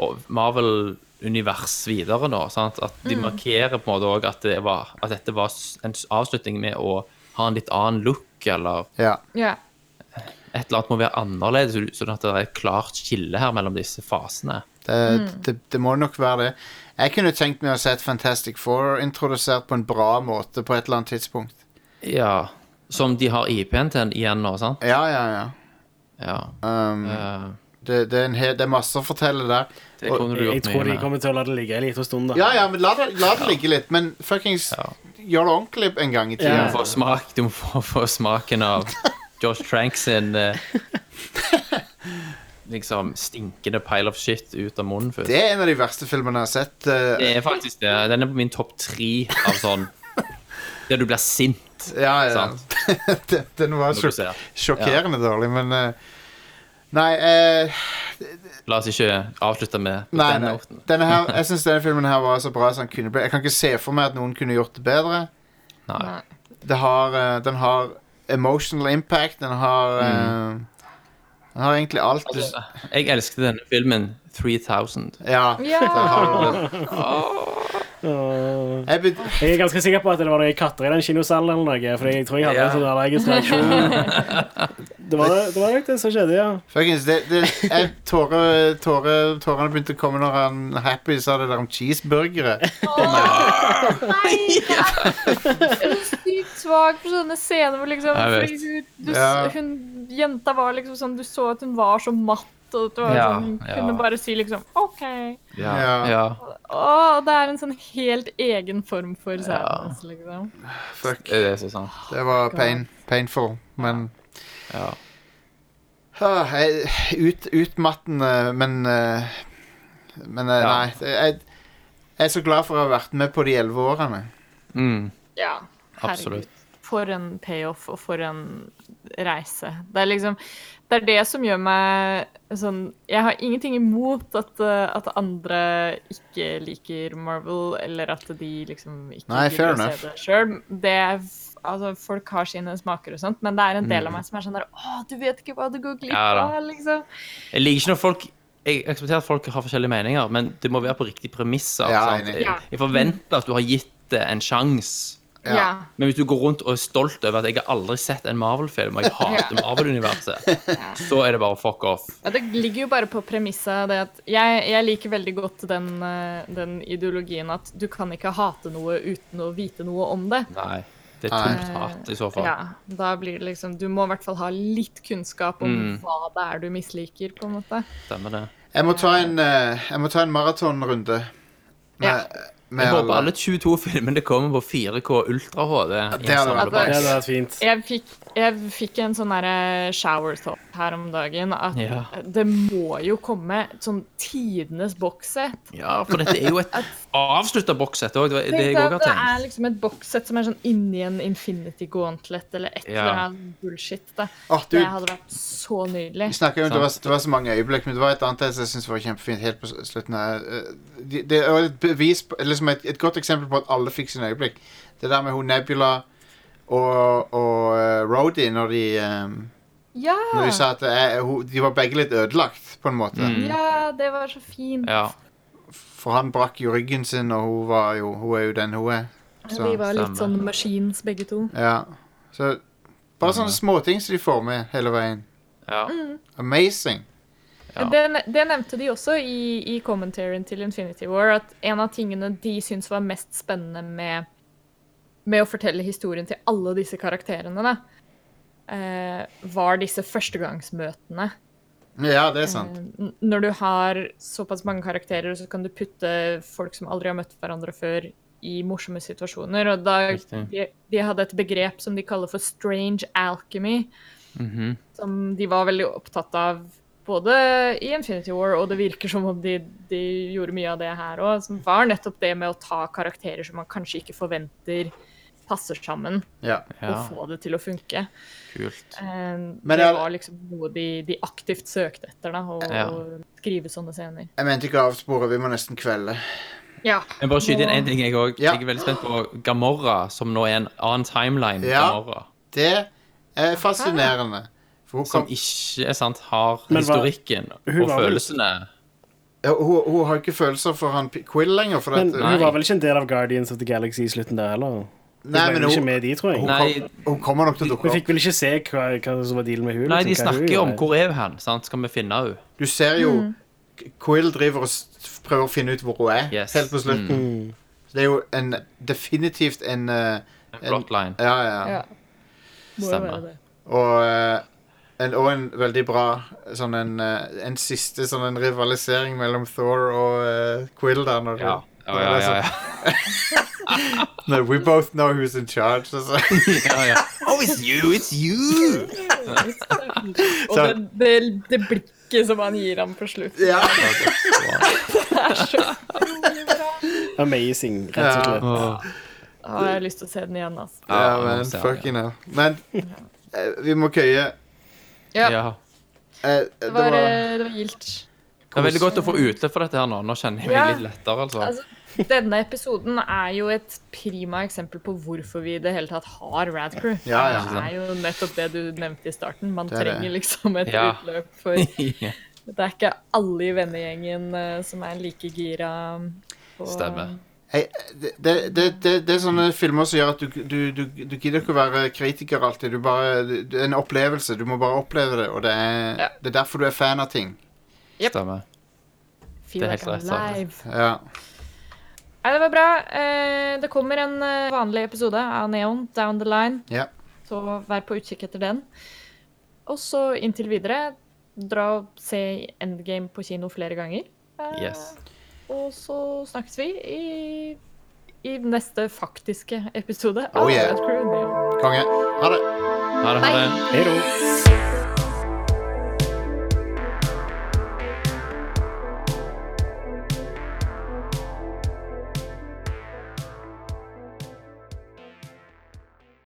og Marvel-univers videre nå. Sant? At de Mm. markerer på en måte også at, det var, at dette var s- en s- avslutning med å ha en litt annen look, eller Ja. Ja. et eller annet må være annerledes, så- sånn at det er et klart skille her mellom disse fasene. Det, det, det må nok være det. Jeg kunne tenkt meg å se et Fantastic Four introdusert på en bra måte på et eller annet tidspunkt. Ja. Som de har IP-en til igjen nå, sant? Ja, ja, ja. Ja. Um, Eh, Det, det, er, en hel, det er masse å fortelle der. Det kunne Jeg, du jeg gjort tror mye de med. kommer til å la det ligge en liten stund. da Ja, ja, men la det, la det ligge litt. Men fuckings Ja. gjør det ordentlig en gang i tida. Du må få, smak, du må få, få smaken av Josh Trank sin (laughs) eh, liksom stinkende pile of shit ut av munnen først. Det er en av de verste filmene jeg har sett. eh, Det er faktisk det. Den er på min topp tre av sånn Der du blir sint. ja, ja. (laughs) Sant. den, den var Når du sjok ser. sjokkerende dårlig, men eh, Nei, eh, La oss ikke avslutte med på nei, den nei. noten. Denne (laughs) her, jeg syns denne filmen her var så bra som den kunne bli. Jeg kan ikke se for meg at noen kunne gjort det bedre. Nei. Nei. Det har, eh, den har emotional impact. Den har eh, Den har egentlig alt. du s- Altså, jeg elsket denne filmen 3000. Ja. Ja. den har du. Åh. (laughs) Jeg begyn- Jeg er ganske sikker på at det var noen katter i den kinosalen eller noe. For jeg tror jeg hadde Ja. en sånn allergisk (laughs) reaksjon. Det var, det var nok det som skjedde, ja. Fuckings, det, det, (laughs) jeg, tåre, tåre, tårene begynte å komme når han Happy sa det der om cheeseburgere. Nei, (laughs) det er jeg er sykt svak for sånne scener hvor liksom Jeg vet. fordi hun, du, Ja. s- hun, Jenta var liksom sånn Du så at hun var så matt, og at det var Ja, sånn, hun ja. kunne bare si liksom OK. Ja. Ja. ja. Å, det er en sånn helt egen form for Ja. sadness, liksom. Fuck. Det er så sant. Det var pain, painful, men Ja. ah, jeg- ut, Utmattende, men eh, Men eh, Ja. nei. det- Jeg, jeg er så glad for å ha vært med på de elleve årene. Mm, Ja. absolutt. For en payoff og for en reise. Det er liksom Det er det som gjør meg sånn Jeg har ingenting imot at, eh, at andre ikke liker Marvel, eller at de liksom ikke Nei, gidder å fair enough. se det sjøl. Det er f- Altså, folk har sine smaker og sånt, men det er en del av meg som er sånn der Å, du vet ikke hva du går glipp Mm. Ja da. av, liksom. Jeg liker ikke når folk Jeg aksepterer at folk har forskjellige meninger, men det må være på riktige premisser. Ja, sant? enig. Jeg, jeg forventer at du har gitt det en sjanse. Ja. Ja. Men hvis du går rundt og er stolt over at jeg har aldri sett en Marvel-film, og jeg hater (laughs) Marvel-universet, så er det bare fuck off. Ja, det ligger jo bare på premisset det at jeg, jeg liker veldig godt den, eh, den ideologien at du kan ikke hate noe uten å vite noe om det. Eh, Nei. Det er Nei. tomt hat i så fall. Ja, da blir det liksom Du må i hvert fall ha litt kunnskap om Mm. hva det er du misliker, på en måte. Stemmer det. Jeg må ta en, eh, jeg må ta en maratonrunde. Med, Ja. med Jeg håper alle. alle 22 filmene kommer på 4K Ultra HD. det hadde vært bra. Det hadde vært fint. Jeg fikk, jeg fikk en sånn derre shower thought her om dagen at Ja. det må jo komme et sånn tidenes bokssett. Ja, for dette er jo et avslutta bokssett òg. Det, det Tenk jeg deg òg at det har tenkt. er liksom et bokssett som er sånn inni en Infinity Gauntlet eller et Ja. eller annet bullshit. Det. Åh, du, det hadde vært så nydelig. vi snakker jo om det var, det var så mange øyeblikk, men det var et annet jeg synes var kjempefint helt på slutten. her. Eh, Det, det er jo et bevis, på- liksom et, et godt eksempel på at alle fikk sine øyeblikk. Det der med hun Nebula og, og eh, Rhodey når de eh, Ja! Når de sa at eh, hun- de var begge litt ødelagt, på en måte. Mm. Ja, det var så fint. Ja. For han brakk jo ryggen sin, og hun, var jo, hun er jo den hun er. De Så, var litt sånn stemmer. machines, begge to. ja. så bare sånne småting som de får med hele veien. ja. Mm. Amazing. Ja. Det, ne- det nevnte de også i, i commentaryen til Infinity War, at en av tingene de syntes var mest spennende med, med å fortelle historien til alle disse karakterene, da, eh, var disse førstegangsmøtene. Ja, det er sant. Eh, n- Når du har såpass mange karakterer, så kan du putte folk som aldri har møtt hverandre før, i morsomme situasjoner. Og da Riktig. de, de hadde et begrep som de kaller for strange alchemy Mhm. som de var veldig opptatt av både i Infinity War, og det virker som om de, de gjorde mye av det her òg, som var nettopp det med å ta karakterer som man kanskje ikke forventer passer sammen, Ja. ja. og få det til å funke. Kult. Eh, Men det jeg- var liksom noe de, de aktivt søkte etter, da, å Ja. å skrive sånne scener. Jeg mente ikke å avspore, vi må nesten kvelde. Ja. Jeg bare skyter inn én ting, jeg òg. Ja. Jeg er veldig spent på Gamora, som nå er en annen timeline. Ja. Gamora, Det er fascinerende. For hun, som kom, ikke eh, sant, har Men hva- historikken Hun og var vel- følelsene. Ja, hun, hun har ikke følelser for han P- Quill lenger. For Men at, Nei. hun var vel ikke en del av Guardians of the Galaxy i slutten der, eller? Hun nei, ble men vel ikke hun, med i de, tror jeg. hun, Nei. kom, hun kommer nok til å Vi dukke opp. fikk vel ikke se hva, hva som var dealen med hun Nei, de liksom, hva hun snakker om gjorde. hvor er hun, sant? skal vi finne henne? Du ser jo Mm. K- Quill driver og s- prøver å finne ut hvor hun er, Yes. helt på slutten. Mm. Det er jo en, definitivt en eh, Plotline. Ja, ja. ja. Må jo Stemmer. være det. Og eh, en, og en veldig bra sånn en, eh, en siste sånn en rivalisering mellom Thor og eh, Quill der. Når, Ja. når Ja, ja, det er ja, (laughs) sånn, No, we both know who's in charge. Altså. (laughs) ja, ja. Oh, it's you, it's you! (laughs) Og det, det, det blikket som han gir ham på slutt. ja. Det er så utrolig bra. Amazing, rett og slett. Å, jeg har lyst til å se den igjen, altså. ja, Ja, men ser fucking hell. Men eh, vi må køye. Ja, Ja. Eh, det var, eh, det var gildt. Det er veldig godt å få utløp for dette her nå. Nå kjenner jeg Ja. meg litt lettere, altså. Altså, denne episoden er jo et prima eksempel på hvorfor vi i det hele tatt har Radcrew. Ja, ja. Det er jo nettopp det du nevnte i starten. Man Det er det. trenger liksom et Ja. utløp for Det er ikke alle i vennegjengen eh, som er like gira eh, på Stemmer. Hei, det, det, det, det er sånne filmer som gjør at du, du, du, du gidder ikke å være kritiker alltid. Du bare, det er en opplevelse. Du må bare oppleve det, og det er, Ja. det er derfor du er fan av ting. Jep. Stemmer. Feel Det er helt like I'm rett, sant. alive. Ja. Nei, det var bra. Eh, Det kommer en eh, vanlig episode av Neon down the line, ja. så vær på utkikk etter den. Og så inntil videre, dra og se Endgame på kino flere ganger. Eh, Yes. Og så snakkes vi i, i neste faktiske episode Oh, yeah. Outcrew Neon. Konge. Ha det. Ha det, ha det. Hei då.